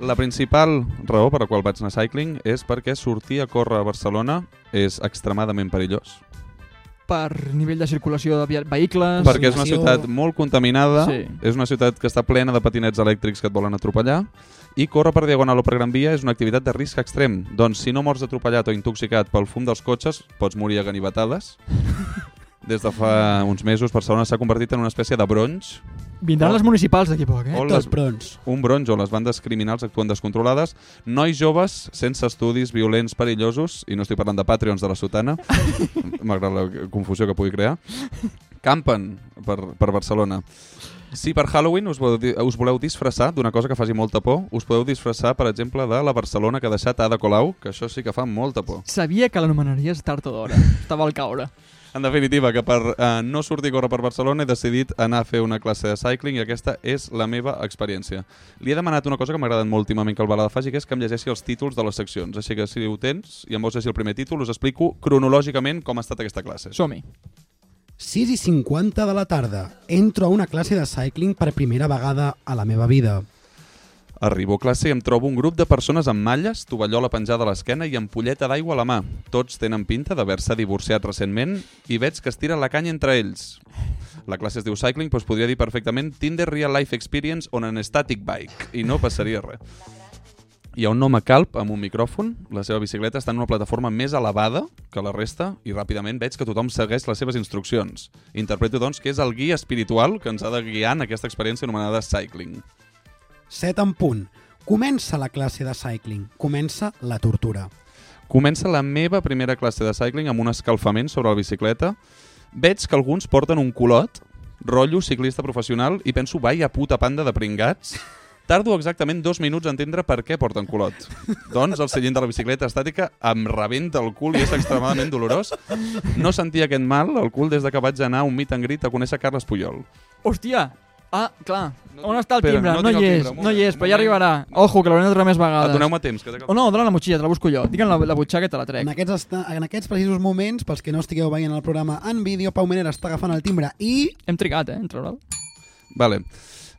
Speaker 7: La principal raó per la qual vaig anar a cycling és perquè sortir a córrer a Barcelona és extremadament perillós.
Speaker 6: Per nivell de circulació de via- vehicles...
Speaker 7: Perquè és una ciutat molt contaminada, sí.
Speaker 6: Sí.
Speaker 7: és una ciutat que està plena de patinets elèctrics que et volen atropellar, i córrer per Diagonal o per Gran Via és una activitat de risc extrem. Doncs si no mors atropellat o intoxicat pel fum dels cotxes, pots morir a ganivetades. Des de fa uns mesos, Barcelona s'ha convertit en una espècie de bronx.
Speaker 6: Vindran les municipals d'aquí a poc, eh?
Speaker 5: brons.
Speaker 7: Un bronx on les bandes criminals actuen descontrolades, nois joves, sense estudis, violents, perillosos, i no estic parlant de Patreons de la sotana, malgrat la confusió que pugui crear, campen per, per Barcelona. Si per Halloween us voleu, di- us voleu disfressar d'una cosa que faci molta por, us podeu disfressar, per exemple, de la Barcelona que ha deixat Ada Colau, que això sí que fa molta por.
Speaker 6: Sabia que l'anomenaries tard o d'hora. Estava al caure.
Speaker 7: En definitiva, que per eh, no sortir a córrer per Barcelona he decidit anar a fer una classe de cycling i aquesta és la meva experiència. Li he demanat una cosa que m'ha agradat molt últimament que el Balada faci, que és que em llegeixi els títols de les seccions. Així que si ho tens i em vols llegir el primer títol, us explico cronològicament com ha estat aquesta classe.
Speaker 6: Som-hi.
Speaker 5: 6 i 50 de la tarda. Entro a una classe de cycling per primera vegada a la meva vida.
Speaker 7: Arribo a classe i em trobo un grup de persones amb malles, tovallola penjada a l'esquena i ampolleta d'aigua a la mà. Tots tenen pinta d'haver-se divorciat recentment i veig que es tira la canya entre ells. La classe es diu Cycling, doncs podria dir perfectament Tinder Real Life Experience on an static bike i no passaria res. Hi ha un home calp amb un micròfon, la seva bicicleta està en una plataforma més elevada que la resta i ràpidament veig que tothom segueix les seves instruccions. Interpreto, doncs, que és el guia espiritual que ens ha de guiar en aquesta experiència anomenada cycling.
Speaker 5: 7 en punt. Comença la classe de cycling. Comença la tortura.
Speaker 7: Comença la meva primera classe de cycling amb un escalfament sobre la bicicleta. Veig que alguns porten un culot, rotllo ciclista professional, i penso, vaya puta panda de pringats. Tardo exactament dos minuts a entendre per què porten culot. Doncs el seient de la bicicleta estàtica em rebenta el cul i és extremadament dolorós. No sentia aquest mal al cul des de que vaig anar a un meet and greet a conèixer Carles Puyol.
Speaker 6: Hòstia! Ah, clar. On està el
Speaker 7: Espera,
Speaker 6: timbre?
Speaker 7: no
Speaker 6: No, hi
Speaker 7: tinc el
Speaker 6: és,
Speaker 7: timbre, un
Speaker 6: no hi és, però ja arribarà.
Speaker 7: moment.
Speaker 6: Ojo, que l'haurem de trobar més vegades.
Speaker 7: Doneu-me temps, que t'he acabat.
Speaker 6: Oh, no, dona la motxilla, te la busco jo. Digue'm la, la butxaca i te la trec.
Speaker 5: En aquests, esta- en aquests precisos moments, pels que no estigueu veient el programa en vídeo, Pau Menera està agafant el timbre i...
Speaker 6: Hem trigat, eh, en treure'l.
Speaker 7: Vale.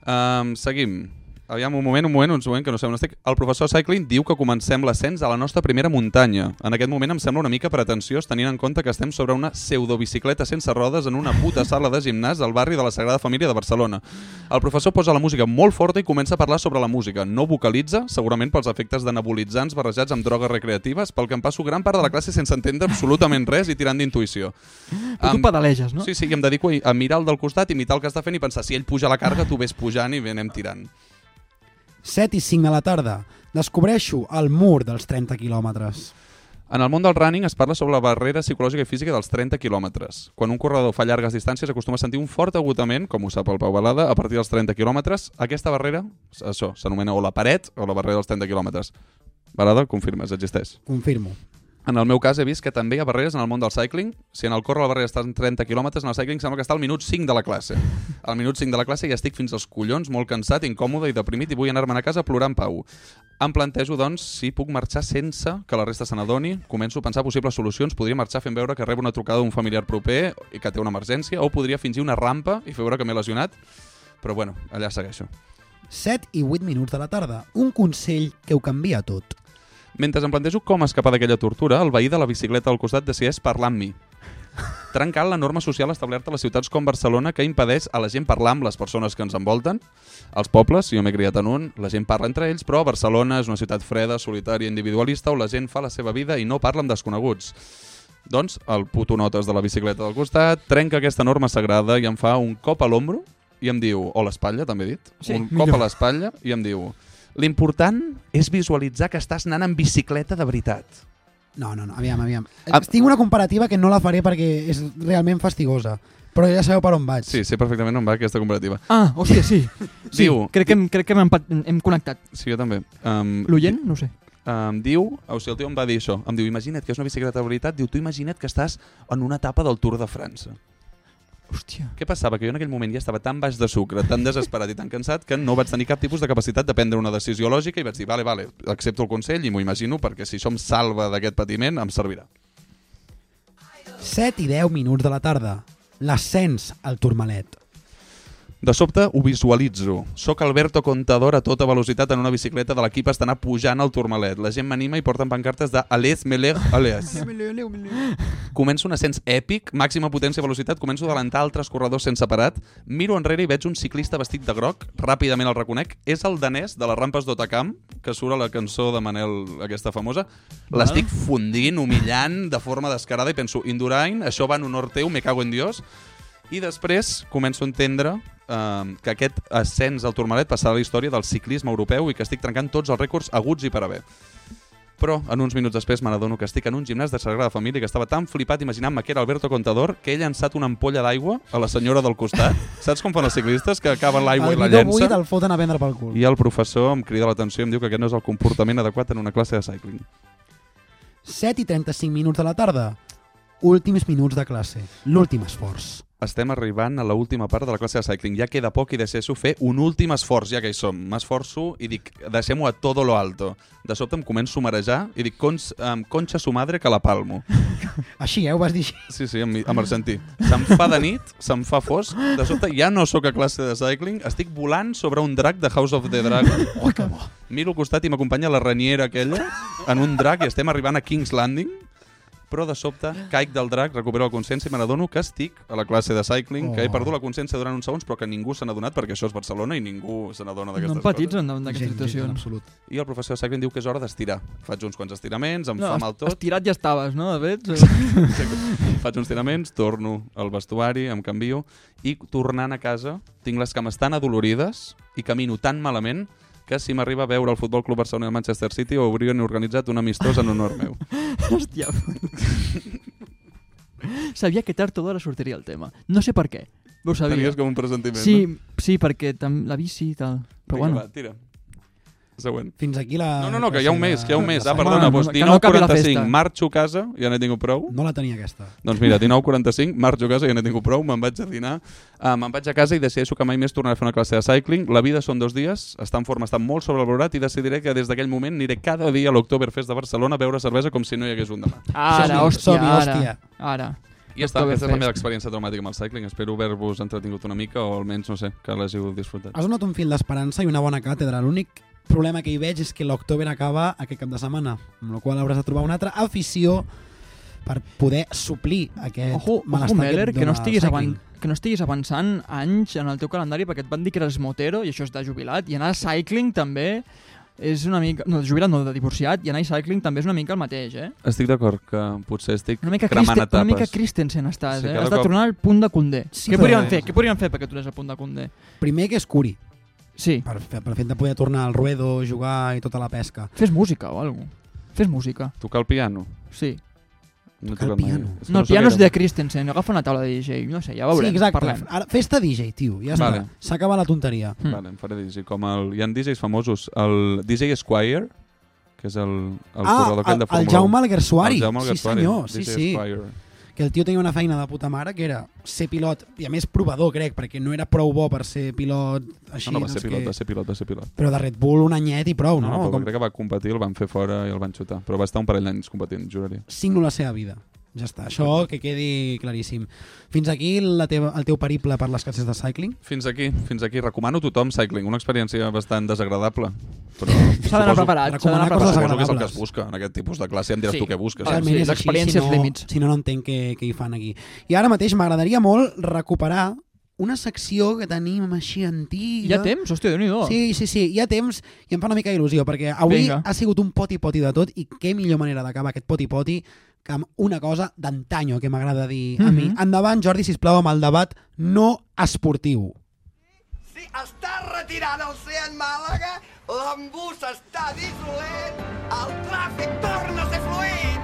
Speaker 7: Um, seguim. Aviam, un moment, un moment, un moment, que no sé on estic. El professor Cycling diu que comencem l'ascens a la nostra primera muntanya. En aquest moment em sembla una mica pretensiós tenint en compte que estem sobre una pseudobicicleta sense rodes en una puta sala de gimnàs al barri de la Sagrada Família de Barcelona. El professor posa la música molt forta i comença a parlar sobre la música. No vocalitza, segurament pels efectes d'anabolitzants barrejats amb drogues recreatives, pel que em passo gran part de la classe sense entendre absolutament res i tirant d'intuïció.
Speaker 6: Però tu
Speaker 7: Em-
Speaker 6: pedaleges, no?
Speaker 7: Sí, sí, i em dedico a, a mirar el del costat, imitar el que està fent i pensar, si ell puja la carga, tu ves pujant i bé, anem tirant.
Speaker 5: 7 i 5 de la tarda. Descobreixo el mur dels 30 quilòmetres.
Speaker 7: En el món del running es parla sobre la barrera psicològica i física dels 30 quilòmetres. Quan un corredor fa llargues distàncies acostuma a sentir un fort agotament, com ho sap el Pau Balada, a partir dels 30 quilòmetres. Aquesta barrera, això, s'anomena o la paret o la barrera dels 30 quilòmetres. Balada, confirmes, existeix.
Speaker 5: Confirmo.
Speaker 7: En el meu cas he vist que també hi ha barreres en el món del cycling. Si en el córrer la barrera està en 30 km, en el cycling sembla que està al minut 5 de la classe. Al minut 5 de la classe ja estic fins als collons, molt cansat, incòmode i deprimit i vull anar-me'n a casa plorant pau. Em plantejo, doncs, si puc marxar sense que la resta se n'adoni. Començo a pensar possibles solucions. Podria marxar fent veure que rebo una trucada d'un familiar proper i que té una emergència, o podria fingir una rampa i fer veure que m'he lesionat. Però bueno, allà segueixo.
Speaker 5: 7 i 8 minuts de la tarda. Un consell que ho canvia tot.
Speaker 7: Mentre em plantejo com escapar d'aquella tortura, el veí de la bicicleta al costat decideix parlar amb mi. Trencant la norma social establerta a les ciutats com Barcelona que impedeix a la gent parlar amb les persones que ens envolten. Als pobles, si jo m'he criat en un, la gent parla entre ells, però Barcelona és una ciutat freda, solitària, individualista, on la gent fa la seva vida i no parla amb desconeguts. Doncs el puto notes de la bicicleta del costat trenca aquesta norma sagrada i em fa un cop a l'ombro i em diu, o l'espatlla també he dit,
Speaker 17: Sí,
Speaker 7: un
Speaker 17: millor.
Speaker 7: cop a l'espatlla i em diu l'important és visualitzar que estàs anant en bicicleta de veritat.
Speaker 5: No, no, no, aviam, aviam.
Speaker 7: Ah.
Speaker 5: Tinc una comparativa que no la faré perquè és realment fastigosa, però ja sabeu per on vaig.
Speaker 7: Sí, sé perfectament on va aquesta comparativa.
Speaker 6: Ah, hòstia, sí. sí
Speaker 7: Diu-
Speaker 6: crec que, hem, crec que hem, empat- hem connectat.
Speaker 7: Sí, jo també. Um,
Speaker 6: L'oient? No ho sé.
Speaker 7: Em diu, o sigui, el tio em va dir això, em diu, imagina't que és una bicicleta de veritat, diu, tu imagina't que estàs en una etapa del Tour de França.
Speaker 6: Hòstia.
Speaker 7: Què passava? Que jo en aquell moment ja estava tan baix de sucre, tan desesperat i tan cansat que no vaig tenir cap tipus de capacitat de prendre una decisió lògica i vaig dir, vale, vale, accepto el consell i m'ho imagino perquè si això em salva d'aquest patiment em servirà.
Speaker 5: 7 i 10 minuts de la tarda. L'ascens al Turmalet.
Speaker 7: De sobte ho visualitzo. Soc Alberto Contador a tota velocitat en una bicicleta de l'equip estan anar pujant al Turmalet. La gent m'anima i porten pancartes de Alez Melech Alez. Començo un ascens èpic, màxima potència i velocitat, començo a adelantar altres corredors sense parat, miro enrere i veig un ciclista vestit de groc, ràpidament el reconec, és el danès de les rampes d'Otacam, que surt a la cançó de Manel, aquesta famosa. L'estic fundint, humillant, de forma descarada, i penso, Indurain, això va en honor teu, me cago en Dios. I després començo a entendre eh, que aquest ascens al Turmalet passarà a la història del ciclisme europeu i que estic trencant tots els rècords aguts i per haver. Però, en uns minuts després, me n'adono que estic en un gimnàs de Sagrada Família que estava tan flipat imaginant-me que era Alberto Contador que he llançat una ampolla d'aigua a la senyora del costat. Saps com fan els ciclistes? Que acaben l'aigua
Speaker 5: el
Speaker 7: i la
Speaker 5: bidó buit
Speaker 7: llencen.
Speaker 5: el foten a vendre pel cul.
Speaker 7: I el professor em crida l'atenció i em diu que aquest no és el comportament adequat en una classe de cycling.
Speaker 5: 7 i 35 minuts de la tarda. últims minuts de classe, l'últim esforç.
Speaker 7: Estem arribant a l'última part de la classe de cycling. Ja queda poc i deixo fer un últim esforç, ja que hi som. M'esforço i dic, deixem-ho a todo lo alto. De sobte em començo a marejar i dic, Cons, um, conxa su madre que la palmo.
Speaker 5: Així, eh? Ho vas dir així.
Speaker 7: Sí, sí, amb, amb argentí. Se'm fa de nit, se'm fa fosc, de sobte ja no sóc a classe de cycling, estic volant sobre un drac de House of the Dragon. Oh, que bo. Miro al costat i m'acompanya la reniera aquella en un drac i estem arribant a King's Landing, però de sobte caic del drac, recupero la consciència i me n'adono que estic a la classe de cycling, oh. que he perdut la consciència durant uns segons, però que ningú se n'ha adonat perquè això és Barcelona i ningú se n'adona
Speaker 6: No
Speaker 7: d'aquestes
Speaker 6: empatitzen davant d'aquestes
Speaker 7: Gent, gent,
Speaker 6: situacions.
Speaker 7: en absolut. I el professor de cycling diu que és hora d'estirar. Faig uns quants estiraments, em fa
Speaker 6: es-
Speaker 7: mal tot.
Speaker 6: Estirat ja estaves, no? De fet,
Speaker 7: faig uns tiraments, torno al vestuari, em canvio, i tornant a casa tinc les cames tan adolorides i camino tan malament que si m'arriba a veure el Futbol Club Barcelona i el Manchester City ho haurien organitzat un amistós en honor meu.
Speaker 6: Hòstia. Sabia que tard o d'hora sortiria el tema. No sé per què. Ho sabia.
Speaker 7: Tenies com un pressentiment,
Speaker 6: sí,
Speaker 7: no?
Speaker 6: Sí, perquè tam... la bici i tal. Però
Speaker 7: Vinga,
Speaker 6: bueno.
Speaker 7: va, tira. Següent.
Speaker 5: Fins aquí Ah, la...
Speaker 7: No, no, no, que hi ha un mes, que hi ha un mes. Ah,
Speaker 5: la
Speaker 7: perdona,
Speaker 5: setmana.
Speaker 7: doncs
Speaker 5: Que no acabi la
Speaker 7: 19.45,
Speaker 5: festa.
Speaker 7: marxo a casa, ja n'he tingut prou.
Speaker 5: No la tenia aquesta.
Speaker 7: Doncs mira, 19.45, marxo a casa, ja n'he tingut prou, me'n vaig a dinar, uh, me'n vaig a casa i decideixo que mai més tornaré a fer una classe de cycling. La vida són dos dies, està en forma, està molt sobrevalorat i decidiré que des d'aquell moment aniré cada dia a l'Octoberfest de Barcelona a beure cervesa com si no hi hagués un demà.
Speaker 6: Ara,
Speaker 5: Som-hi,
Speaker 6: hòstia,
Speaker 5: som-hi,
Speaker 6: ara.
Speaker 5: hòstia.
Speaker 6: Ara.
Speaker 7: I ja està, aquesta és la
Speaker 6: Oktoberfest.
Speaker 7: meva experiència traumàtica amb el cycling. Espero haver-vos entretingut una mica o almenys, no sé, que l'hàgiu disfrutat.
Speaker 5: Has donat un fil d'esperança i una bona càtedra. L'únic problema que hi veig és que l'October acaba aquest cap de setmana, amb la qual cosa hauràs de trobar una altra afició per poder suplir aquest
Speaker 6: Ojo, ojo
Speaker 5: malestar
Speaker 6: Meller,
Speaker 5: et
Speaker 6: que no,
Speaker 5: dona
Speaker 6: estiguis
Speaker 5: el
Speaker 6: avan...
Speaker 5: cycling.
Speaker 6: que no estiguis avançant anys en el teu calendari perquè et van dir que eres motero i això està jubilat. I anar a cycling també és una mica... No, jubilat no, de divorciat. I anar a cycling també és una mica el mateix, eh?
Speaker 7: Estic d'acord que potser estic
Speaker 6: Una mica,
Speaker 7: cremant
Speaker 6: Christen, una
Speaker 7: etapes.
Speaker 6: mica Christensen estàs,
Speaker 7: Sí,
Speaker 6: sí, eh?
Speaker 7: cada
Speaker 6: Has de
Speaker 7: cop.
Speaker 6: tornar al punt de Condé.
Speaker 5: Sí,
Speaker 6: Què
Speaker 5: però-
Speaker 6: podríem fer? Què podríem fer perquè tornés al punt de Condé?
Speaker 5: Primer que es curi.
Speaker 6: Sí.
Speaker 5: Per, fer- pel fet de poder tornar al ruedo, jugar i tota la pesca.
Speaker 6: Fes música o alguna Fes música.
Speaker 7: Tocar el piano.
Speaker 6: Sí.
Speaker 7: No
Speaker 5: Tocar el
Speaker 7: he tocat mai.
Speaker 5: piano.
Speaker 7: És que
Speaker 6: No, el
Speaker 7: sé
Speaker 6: piano
Speaker 7: què
Speaker 6: és de Christensen. Agafa una taula de DJ. No sé, ja veurem.
Speaker 5: sí, exacte.
Speaker 6: Parlem.
Speaker 5: Ara, festa DJ, tio, ja està.
Speaker 7: Vale.
Speaker 5: S'acaba la tonteria.
Speaker 7: Mm. Vale, em faré DJ. Com el, hi ha DJs famosos. El DJ Squire, que és el, el
Speaker 5: Ah,
Speaker 7: corredor aquell
Speaker 5: el-
Speaker 7: de
Speaker 5: el
Speaker 7: Fórmula 1.
Speaker 5: Jaume Alguersuari.
Speaker 7: El Jaume
Speaker 5: Sí,
Speaker 7: Alguersuari,
Speaker 5: senyor, sí,
Speaker 7: DJ
Speaker 5: sí.
Speaker 7: Squire.
Speaker 5: que el tio tenia una feina de puta mare que era ser pilot, i a més provador, crec, perquè no era prou bo per ser pilot així.
Speaker 7: no, no, va
Speaker 5: doncs
Speaker 7: ser pilot,
Speaker 5: que...
Speaker 7: va ser pilot, va ser pilot.
Speaker 5: Però de Red Bull un anyet i prou,
Speaker 7: no,
Speaker 5: no?
Speaker 7: no, però
Speaker 5: Com
Speaker 7: crec que va competir, el van fer fora i el van xutar. Però va estar un parell d'anys competint, juraria.
Speaker 5: signo la seva vida. Ja està, això que quedi claríssim. Fins aquí la teva, el teu periple per les classes de cycling.
Speaker 7: Fins aquí, fins aquí. Recomano a tothom cycling, una experiència bastant desagradable. Però
Speaker 5: S'ha d'anar preparat, s'ha d'anar
Speaker 7: Suposo
Speaker 5: preparat.
Speaker 7: suposo que és el que
Speaker 5: Desagradables.
Speaker 7: es busca en aquest tipus de classe, ja em diràs
Speaker 5: Sí,
Speaker 7: tu què busques.
Speaker 5: realment és així, si no, Si no, no entenc què, què hi fan aquí. I ara mateix m'agradaria molt recuperar una secció que tenim així antiga.
Speaker 6: Hi ha temps? Hòstia, déu-n'hi-do.
Speaker 5: Sí, sí, sí, hi ha temps i em fa una mica il·lusió, perquè avui
Speaker 6: oh. Vinga.
Speaker 5: ha sigut un poti-poti de tot i què millor manera d'acabar aquest poti-poti que amb una cosa d'antanyo que m'agrada dir a
Speaker 6: Mhm.
Speaker 5: mi. Endavant, Jordi, sisplau, amb el debat no esportiu.
Speaker 16: Està retirant el Seat Màlaga, l'embús està dissolent, el tràfic torna a ser fluid.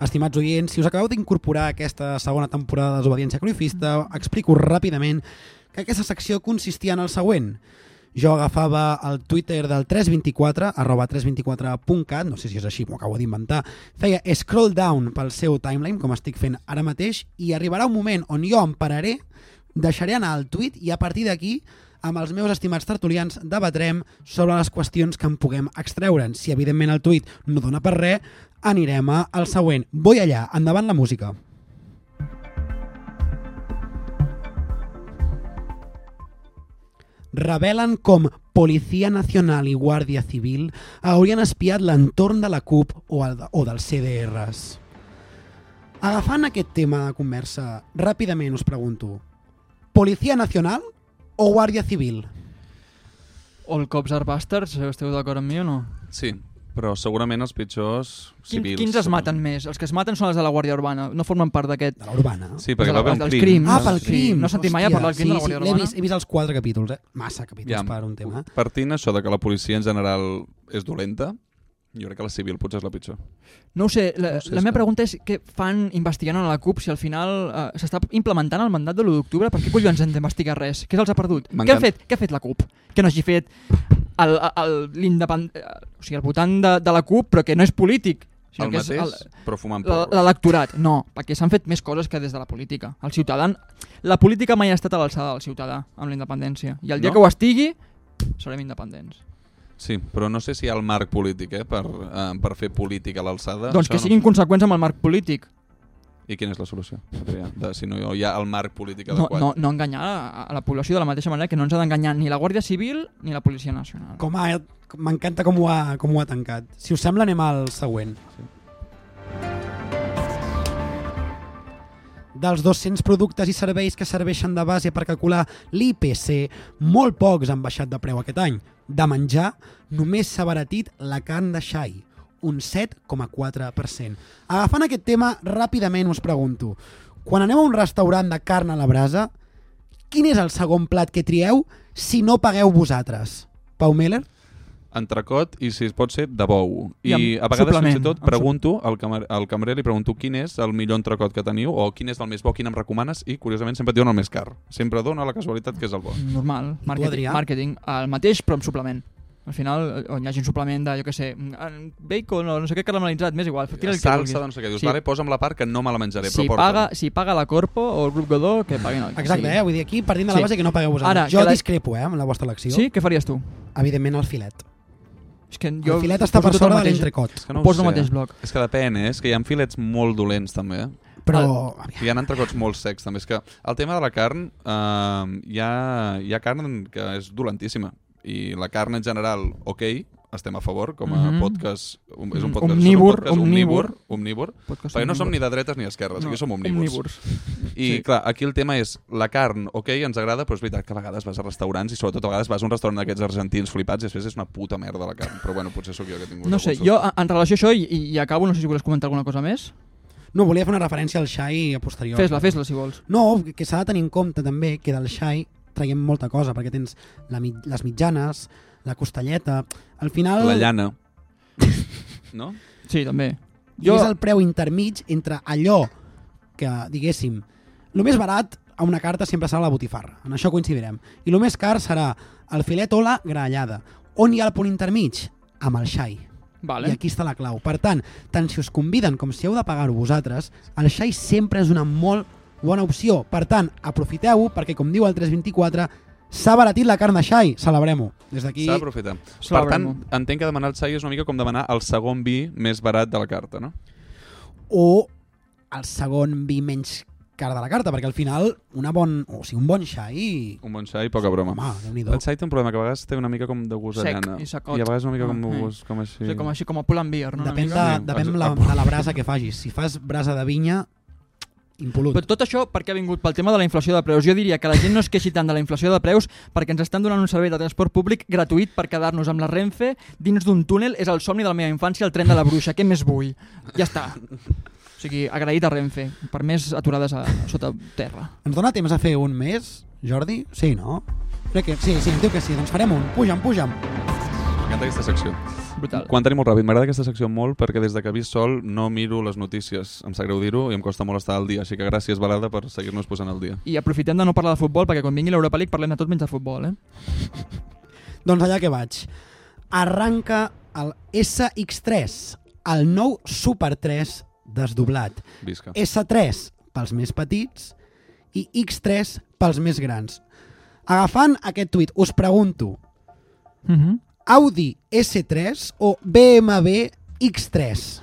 Speaker 5: Estimats oients, si us acabeu d'incorporar a aquesta segona temporada de Desobediència Cruifista, explico ràpidament que aquesta secció consistia en el següent. Jo agafava el Twitter del 324, arroba 324.cat, no sé si és així, m'ho acabo d'inventar, feia scroll down pel seu timeline, com estic fent ara mateix, i arribarà un moment on jo em pararé, deixaré anar el tuit i a partir d'aquí amb els meus estimats tertulians debatrem sobre les qüestions que en puguem extreure'n. Si evidentment el tuit no dona per res, anirem a- al següent. Voy allà, endavant la música. Revelen com Policia Nacional i Guàrdia Civil haurien espiat l'entorn de la CUP o, el, o dels CDRs. Agafant aquest tema de conversa, ràpidament us pregunto, Policia Nacional o Guàrdia Civil?
Speaker 6: All Cops Are Bastards, esteu d'acord amb mi o no?
Speaker 7: Sí, però segurament els pitjors
Speaker 6: Quin,
Speaker 7: civils. eh?
Speaker 6: quins es maten més? Els que es maten són els de la Guàrdia Urbana, no formen part d'aquest... De
Speaker 5: la Urbana?
Speaker 7: Sí, perquè va haver un
Speaker 6: dels
Speaker 7: crim.
Speaker 6: crims.
Speaker 5: Ah, pel crim.
Speaker 6: Sí, no he sentit mai a
Speaker 5: Hòstia,
Speaker 6: parlar del crim
Speaker 5: sí,
Speaker 6: de la Guàrdia
Speaker 5: sí, l'he
Speaker 6: Urbana.
Speaker 5: Vist, he vist els quatre capítols, eh? Massa capítols
Speaker 7: Ja,
Speaker 5: per un tema.
Speaker 7: Partint això de que la policia en general és dolenta, jo crec que la civil potser és la pitjor.
Speaker 6: No ho sé, la,
Speaker 7: No ho sé,
Speaker 6: la
Speaker 7: és
Speaker 6: meva
Speaker 7: que-
Speaker 6: pregunta és què fan investigant a la CUP si al final eh, s'està implementant el mandat de l'1 d'octubre? Per què collons hem d'investigar res? Què se'ls ha perdut? Què ha,
Speaker 7: M'encanta.
Speaker 6: fet, què ha fet la CUP? Que no hagi fet el, el, el, l'independ- eh, o sigui, el votant de, de la CUP però que no és polític.
Speaker 7: El
Speaker 6: que és
Speaker 7: mateix, però fumant
Speaker 6: la-
Speaker 7: porros.
Speaker 6: L'electorat, no, perquè s'han fet més coses que des de la política. El ciutadà... La política mai ha estat a l'alçada del ciutadà amb la independència. I el dia
Speaker 7: No?
Speaker 6: que ho estigui, serem independents.
Speaker 7: Sí, però no sé si hi ha el marc polític eh, per, eh, per fer política a l'alçada.
Speaker 6: doncs
Speaker 7: Això
Speaker 6: que
Speaker 7: no-
Speaker 6: siguin conseqüents amb el marc polític.
Speaker 7: I quina és la solució? Adrià? De, si no hi ha el marc polític
Speaker 6: No,
Speaker 7: adequat.
Speaker 6: no, no enganyar a, a la població de la mateixa manera que no ens ha d'enganyar ni la Guàrdia Civil ni la Policia Nacional.
Speaker 5: Com ha, m'encanta com, ho ha, com ho ha tancat. Si us sembla, anem al següent. Dels 200 productes i serveis que serveixen de base per calcular l'IPC, molt pocs han baixat de preu aquest any. De menjar, només s'ha baratit la carn de xai, un 7,4%. Agafant aquest tema, ràpidament us pregunto, quan aneu a un restaurant de carn a la brasa, quin és el segon plat que trieu si no pagueu vosaltres? Pau Meller?
Speaker 7: Entrecot i, si es pot ser, de bou. I,
Speaker 5: I amb
Speaker 7: a vegades, fins
Speaker 5: suplement,
Speaker 7: i tot,
Speaker 5: amb
Speaker 7: pregunto al, camer al cambrer, li pregunto quin és el millor entrecot que teniu o quin és el més bo, quin em recomanes, i, curiosament, sempre et diuen el més car. Sempre dona la casualitat que és el bo.
Speaker 6: Normal, màrqueting,
Speaker 7: Adrià?
Speaker 6: màrqueting, el mateix però amb suplement. Al final, on hi hagi un suplement de, jo què sé, en bacon o no sé què caramelitzat, m'és igual. Tira el que vulguis.
Speaker 7: Salsa, doncs, que dius, sí. vale, posa'm la part que no me la menjaré,
Speaker 6: si,
Speaker 7: però porta'm.
Speaker 6: paga, si paga la Corpo o el grup Godó, que paguin el que
Speaker 5: Exacte,
Speaker 6: sigui.
Speaker 5: eh? Vull dir, aquí partim de la base que no pagueu vosaltres.
Speaker 6: Ara,
Speaker 5: jo
Speaker 6: que la-
Speaker 5: discrepo, eh, amb la vostra elecció.
Speaker 6: Sí? Què faries tu?
Speaker 5: Evidentment, el filet.
Speaker 6: És que
Speaker 5: El filet està per sobre de l'entrecot.
Speaker 7: És que no
Speaker 6: ho poso
Speaker 7: ho
Speaker 6: al
Speaker 7: sé.
Speaker 6: mateix bloc.
Speaker 7: És que depèn, eh? és que hi ha filets molt dolents també. Eh?
Speaker 5: Però-
Speaker 7: Hi ha entrecots molt secs també. És que el tema de la carn, eh, hi, ha, hi ha carn que és dolentíssima. I la carn en general, ok, estem a favor, com a
Speaker 6: Mhm.
Speaker 7: podcast... Un, és un
Speaker 6: Mm,
Speaker 7: podcast,
Speaker 6: omnívor,
Speaker 7: és un podcast omnívor,
Speaker 6: omnívor.
Speaker 7: omnívor,
Speaker 6: Podcast
Speaker 7: perquè no som
Speaker 6: omnívor.
Speaker 7: ni de dretes ni d'esquerres,
Speaker 6: No,
Speaker 7: aquí som omnívors.
Speaker 6: omnívors.
Speaker 7: I sí. clar, aquí el tema és, la carn, ok, ens agrada, però és veritat que a vegades vas a restaurants i sobretot a vegades vas a un restaurant d'aquests argentins flipats i després és una puta merda la carn. Però bueno, potser sóc jo que tinc
Speaker 6: No
Speaker 7: una
Speaker 6: sé,
Speaker 7: consulta.
Speaker 6: jo en- en relació a això, i, i, i acabo, no sé si volies comentar alguna cosa més.
Speaker 5: No, volia fer una referència al xai a posterior.
Speaker 6: Fes-la, fes-la, si vols.
Speaker 5: No, que s'ha de tenir en compte també que del xai traiem molta cosa, perquè tens la, mit- les mitjanes, la costelleta... Al final...
Speaker 7: La llana. no?
Speaker 6: Sí, també.
Speaker 5: Jo... És el preu intermig entre allò que, diguéssim, el més barat a una carta sempre serà la botifarra, en això coincidirem. I el més car serà el filet o la graellada. On hi ha el punt intermig? Amb el xai.
Speaker 6: Vale.
Speaker 5: I aquí està la clau. Per tant, tant si us conviden com si heu de pagar-ho vosaltres, el xai sempre és una molt bona opció. Per tant, aprofiteu-ho perquè, com diu el 324, s'ha baratit la carn de xai. Celebrem-ho. Des d'aquí...
Speaker 7: S'ha d'aprofitar. Per
Speaker 5: Celebrem-ho.
Speaker 7: tant, entenc que demanar el xai és una mica com demanar el segon vi més barat de la carta, no?
Speaker 5: o el segon vi menys car de la carta, perquè al final una bon, o sigui, un bon xai...
Speaker 7: Un bon xai, poca broma.
Speaker 5: Home, Déu-n'hi-do.
Speaker 7: el xai té un problema, que a vegades té una mica com de gust a
Speaker 6: Sec
Speaker 7: llana.
Speaker 6: i secot.
Speaker 7: I a vegades una mica
Speaker 6: Ah,
Speaker 7: com, de
Speaker 6: sí.
Speaker 7: gust, com així.
Speaker 6: Sí, com així, com a pull and beer, no? Una
Speaker 5: Depèn, de,
Speaker 6: mica.
Speaker 5: depèn la, de la brasa que facis. Si fas brasa de vinya, impolut.
Speaker 6: Però tot això perquè ha vingut pel tema de la inflació de preus. Jo diria que la gent no es queixi tant de la inflació de preus perquè ens estan donant un servei de transport públic gratuït per quedar-nos amb la Renfe dins d'un túnel. És el somni de la meva infància, el tren de la bruixa. Què més vull? Ja està. O sigui, agraït a Renfe per més aturades a, sota terra.
Speaker 5: Ens dona temps a fer un més, Jordi? Sí, no? Crec que sí, sí, em diu que sí. Doncs farem un. Puja'm, puja'm.
Speaker 7: M'encanta aquesta secció.
Speaker 6: Brutal.
Speaker 7: Quan tenim molt ràpid. M'agrada aquesta secció molt perquè des de que vist sol no miro les notícies. Em sap greu dir-ho i em costa molt estar al dia. Així que gràcies, Balada, per seguir-nos posant al dia.
Speaker 6: I aprofitem de no parlar de futbol perquè quan vingui l'Europa League parlem de tot menys de futbol, eh?
Speaker 5: Doncs allà que vaig. Arranca el SX3, el nou Super 3 desdoblat.
Speaker 7: Visca.
Speaker 5: S3 pels més petits i X3 pels més grans. Agafant aquest tuit, us pregunto,
Speaker 6: Mhm.
Speaker 5: Audi S3 o BMW X3?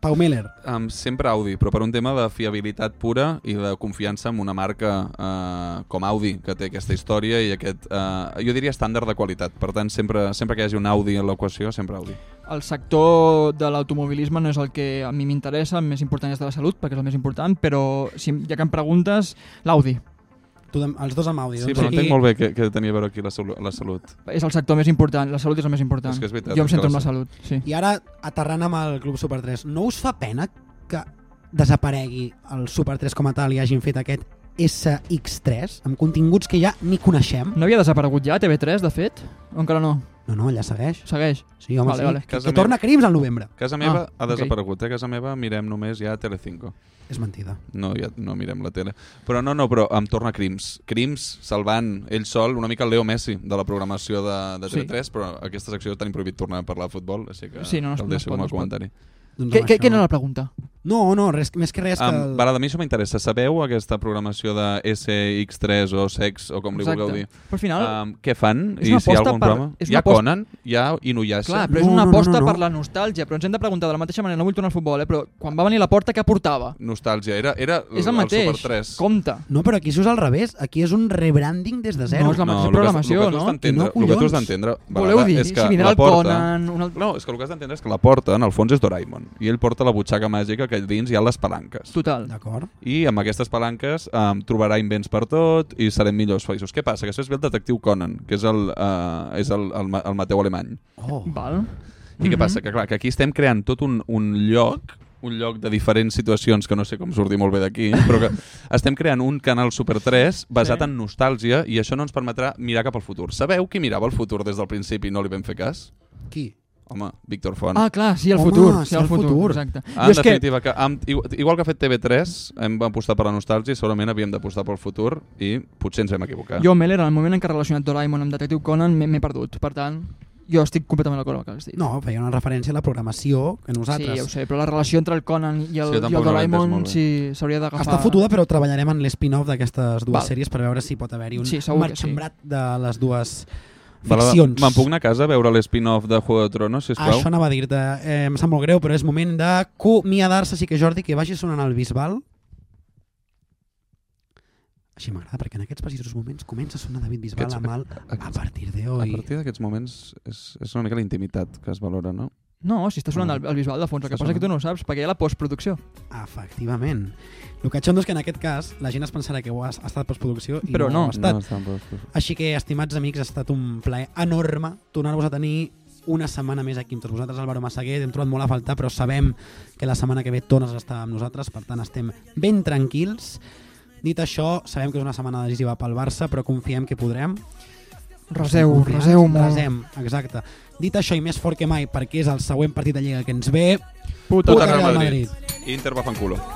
Speaker 5: Pau Miller.
Speaker 7: Um, sempre Audi, però per un tema de fiabilitat pura i de confiança en una marca uh, com Audi, que té aquesta història i aquest, uh, jo diria, estàndard de qualitat. Per tant, sempre, sempre que hi hagi un Audi en l'equació, sempre Audi.
Speaker 6: El sector de l'automobilisme no és el que a mi m'interessa, el més important és de la salut, perquè és el més important, però si, ja que em preguntes, l'Audi.
Speaker 5: Tu, de- els dos amb Audi. doncs.
Speaker 7: Sí, però no entenc molt bé què, què tenia a veure aquí la, salu- la salut.
Speaker 6: És el sector més important, la salut és el més important.
Speaker 7: És que és veritat,
Speaker 6: jo
Speaker 7: és
Speaker 6: em centro
Speaker 7: que
Speaker 6: en
Speaker 7: la
Speaker 6: la salut, sí.
Speaker 5: I ara, aterrant amb el Club Super 3, no us fa pena que desaparegui el Super 3 com a tal i hagin fet aquest SX3 amb continguts que ja ni coneixem?
Speaker 6: No havia desaparegut ja TV3, de fet? O encara no?
Speaker 5: No, no, allà segueix.
Speaker 6: Segueix?
Speaker 5: Sí, home,
Speaker 6: vale,
Speaker 5: sí.
Speaker 6: Vale.
Speaker 5: Que- que torna Crims al novembre.
Speaker 7: Casa meva
Speaker 6: Ah,
Speaker 7: ah, ha
Speaker 6: ok.
Speaker 7: desaparegut, eh? Casa meva mirem només ja Telecinco.
Speaker 5: És mentida.
Speaker 7: No, ja no mirem la tele. Però no, no, però em torna Crims. Crims salvant ell sol una mica el Leo Messi de la programació de, de
Speaker 6: Sí.
Speaker 7: TV3, però aquesta secció tenim prohibit tornar a parlar de futbol, així que
Speaker 6: Sí, no, no es-
Speaker 7: el
Speaker 6: no es
Speaker 7: deixo
Speaker 6: pot,
Speaker 7: com
Speaker 6: no
Speaker 7: a
Speaker 6: es pot.
Speaker 7: comentari.
Speaker 5: Doncs
Speaker 6: Què,
Speaker 5: amb
Speaker 6: què,
Speaker 5: això-
Speaker 6: què era la pregunta?
Speaker 5: No, no, res, més que res que...
Speaker 7: Um,
Speaker 5: el-
Speaker 7: Balada, a mi això m'interessa. Sabeu aquesta programació de SX3 o SEX o com li
Speaker 6: Exacte.
Speaker 7: vulgueu dir?
Speaker 6: Però al final-
Speaker 7: Um, què fan?
Speaker 6: És
Speaker 7: I
Speaker 6: una
Speaker 7: si hi ha
Speaker 6: aposta
Speaker 7: algun
Speaker 6: per-
Speaker 7: programa?
Speaker 6: és
Speaker 7: Hi
Speaker 6: una
Speaker 7: ha
Speaker 6: aposta-
Speaker 7: Conan? Hi ha Inuyasha?
Speaker 6: Clar, però és una aposta per la nostàlgia, però ens hem de preguntar de la mateixa manera, no vull tornar al futbol, eh, però quan va venir la porta, què portava?
Speaker 7: Nostàlgia. Era, era
Speaker 6: És el mateix,
Speaker 7: Super 3.
Speaker 6: compte.
Speaker 5: No, però aquí això és al revés. Aquí és un rebranding des de zero.
Speaker 6: No, és la mateixa programació,
Speaker 7: el que, el que tu has
Speaker 6: no?
Speaker 7: d'entendre-
Speaker 5: I no,
Speaker 7: el que tu has
Speaker 5: collons.
Speaker 7: d'entendre,
Speaker 5: Voleu
Speaker 7: Balada,
Speaker 5: dir
Speaker 7: és que
Speaker 5: si vindrà
Speaker 7: la
Speaker 5: el
Speaker 7: porta...
Speaker 5: Conan,
Speaker 6: un altre-
Speaker 7: No, és que el que has d'entendre és que la porta, en el fons, és Doraemon. I ell porta la butxaca màgica que dins hi ha les palanques.
Speaker 6: Total.
Speaker 5: D'acord.
Speaker 7: I amb aquestes palanques um, trobarà invents per tot i serem millors països. Què passa? Que després ve el detectiu Conan, que és el, uh, és el, el, ma- el Mateu Alemany.
Speaker 5: Oh.
Speaker 6: Val.
Speaker 7: I què passa? Que clar, que aquí estem creant tot un, un lloc un lloc de diferents situacions que no sé com sortir molt bé d'aquí, però que estem creant un canal Super 3 basat
Speaker 6: Sí.
Speaker 7: sí. en nostàlgia i això no ens permetrà mirar cap al futur. Sabeu qui mirava el futur des del principi i no li vam fer cas?
Speaker 5: Qui?
Speaker 7: Home, Víctor Font.
Speaker 6: Ah, clar, sí, el futur. Sí, el futur. Exacte. Jo
Speaker 7: Ah, en
Speaker 6: és que-
Speaker 7: definitiva, que... amb, igual- igual que ha fet TV3, hem apostat per la nostàlgia i segurament havíem d'apostar pel futur i potser ens hem equivocat.
Speaker 6: Jo, Meller, en el moment en què he relacionat Doraemon amb Detectiu Conan, m'he m'he perdut. Per tant, jo estic completament d'acord amb el que has dit.
Speaker 5: No, feia una referència a la programació que nosaltres...
Speaker 6: Sí, ja ho sé, però la relació entre el Conan i el,
Speaker 5: Sí, jo
Speaker 6: i
Speaker 5: tampoc no
Speaker 6: el
Speaker 5: l'he entès
Speaker 6: Doraemon
Speaker 5: molt bé.
Speaker 6: sí, s'hauria d'agafar...
Speaker 5: Està fotuda, però treballarem en l'espin-off d'aquestes dues
Speaker 6: Val.
Speaker 5: sèries per veure si pot haver-hi un
Speaker 6: Sí, segur que sí.
Speaker 5: marxembrat de les dues
Speaker 7: Balada,
Speaker 5: ficcions. Ah,
Speaker 7: Me'n puc anar a casa a veure l'espin-off de Juego de Tronos, sisplau?
Speaker 5: Això anava a dir-te. Eh, em sap molt greu, però és moment d'acomiadar-se. Així que, Jordi, que vagi sonant al Bisbal. Així m'agrada, perquè en aquests precisos moments comença a sonar David Bisbal
Speaker 7: Aquests-
Speaker 5: amb el a partir de
Speaker 7: A
Speaker 5: hoy.
Speaker 7: partir d'aquests moments és, és una mica la intimitat que es valora, no?
Speaker 6: No, si està sonant el, el Bisbal de fons, el que
Speaker 7: Està
Speaker 6: passa és que tu no ho saps, perquè hi ha la postproducció.
Speaker 5: Efectivament. El que xondo és que en aquest cas la gent es pensarà que ho ha, ha estat postproducció i
Speaker 6: Però
Speaker 5: no,
Speaker 6: no.
Speaker 5: ho ha estat.
Speaker 6: No ha estat
Speaker 7: postproducció.
Speaker 5: Així que, estimats amics, ha estat un plaer enorme tornar-vos a tenir una setmana més aquí amb tots vosaltres, Álvaro Massaguer. Hem trobat molt a faltar, però sabem que la setmana que ve Tones està amb nosaltres, per tant estem ben tranquils. Dit això, sabem que és una setmana decisiva pel Barça, però confiem que podrem.
Speaker 6: Reseu,
Speaker 5: Estem confiats,
Speaker 6: reseu molt.
Speaker 5: Resem, exacte. Dit això, i més fort que mai, perquè és el següent partit de Lliga que ens ve...
Speaker 7: Puta
Speaker 5: Real
Speaker 7: Madrid. Madrid. Inter va fan culo.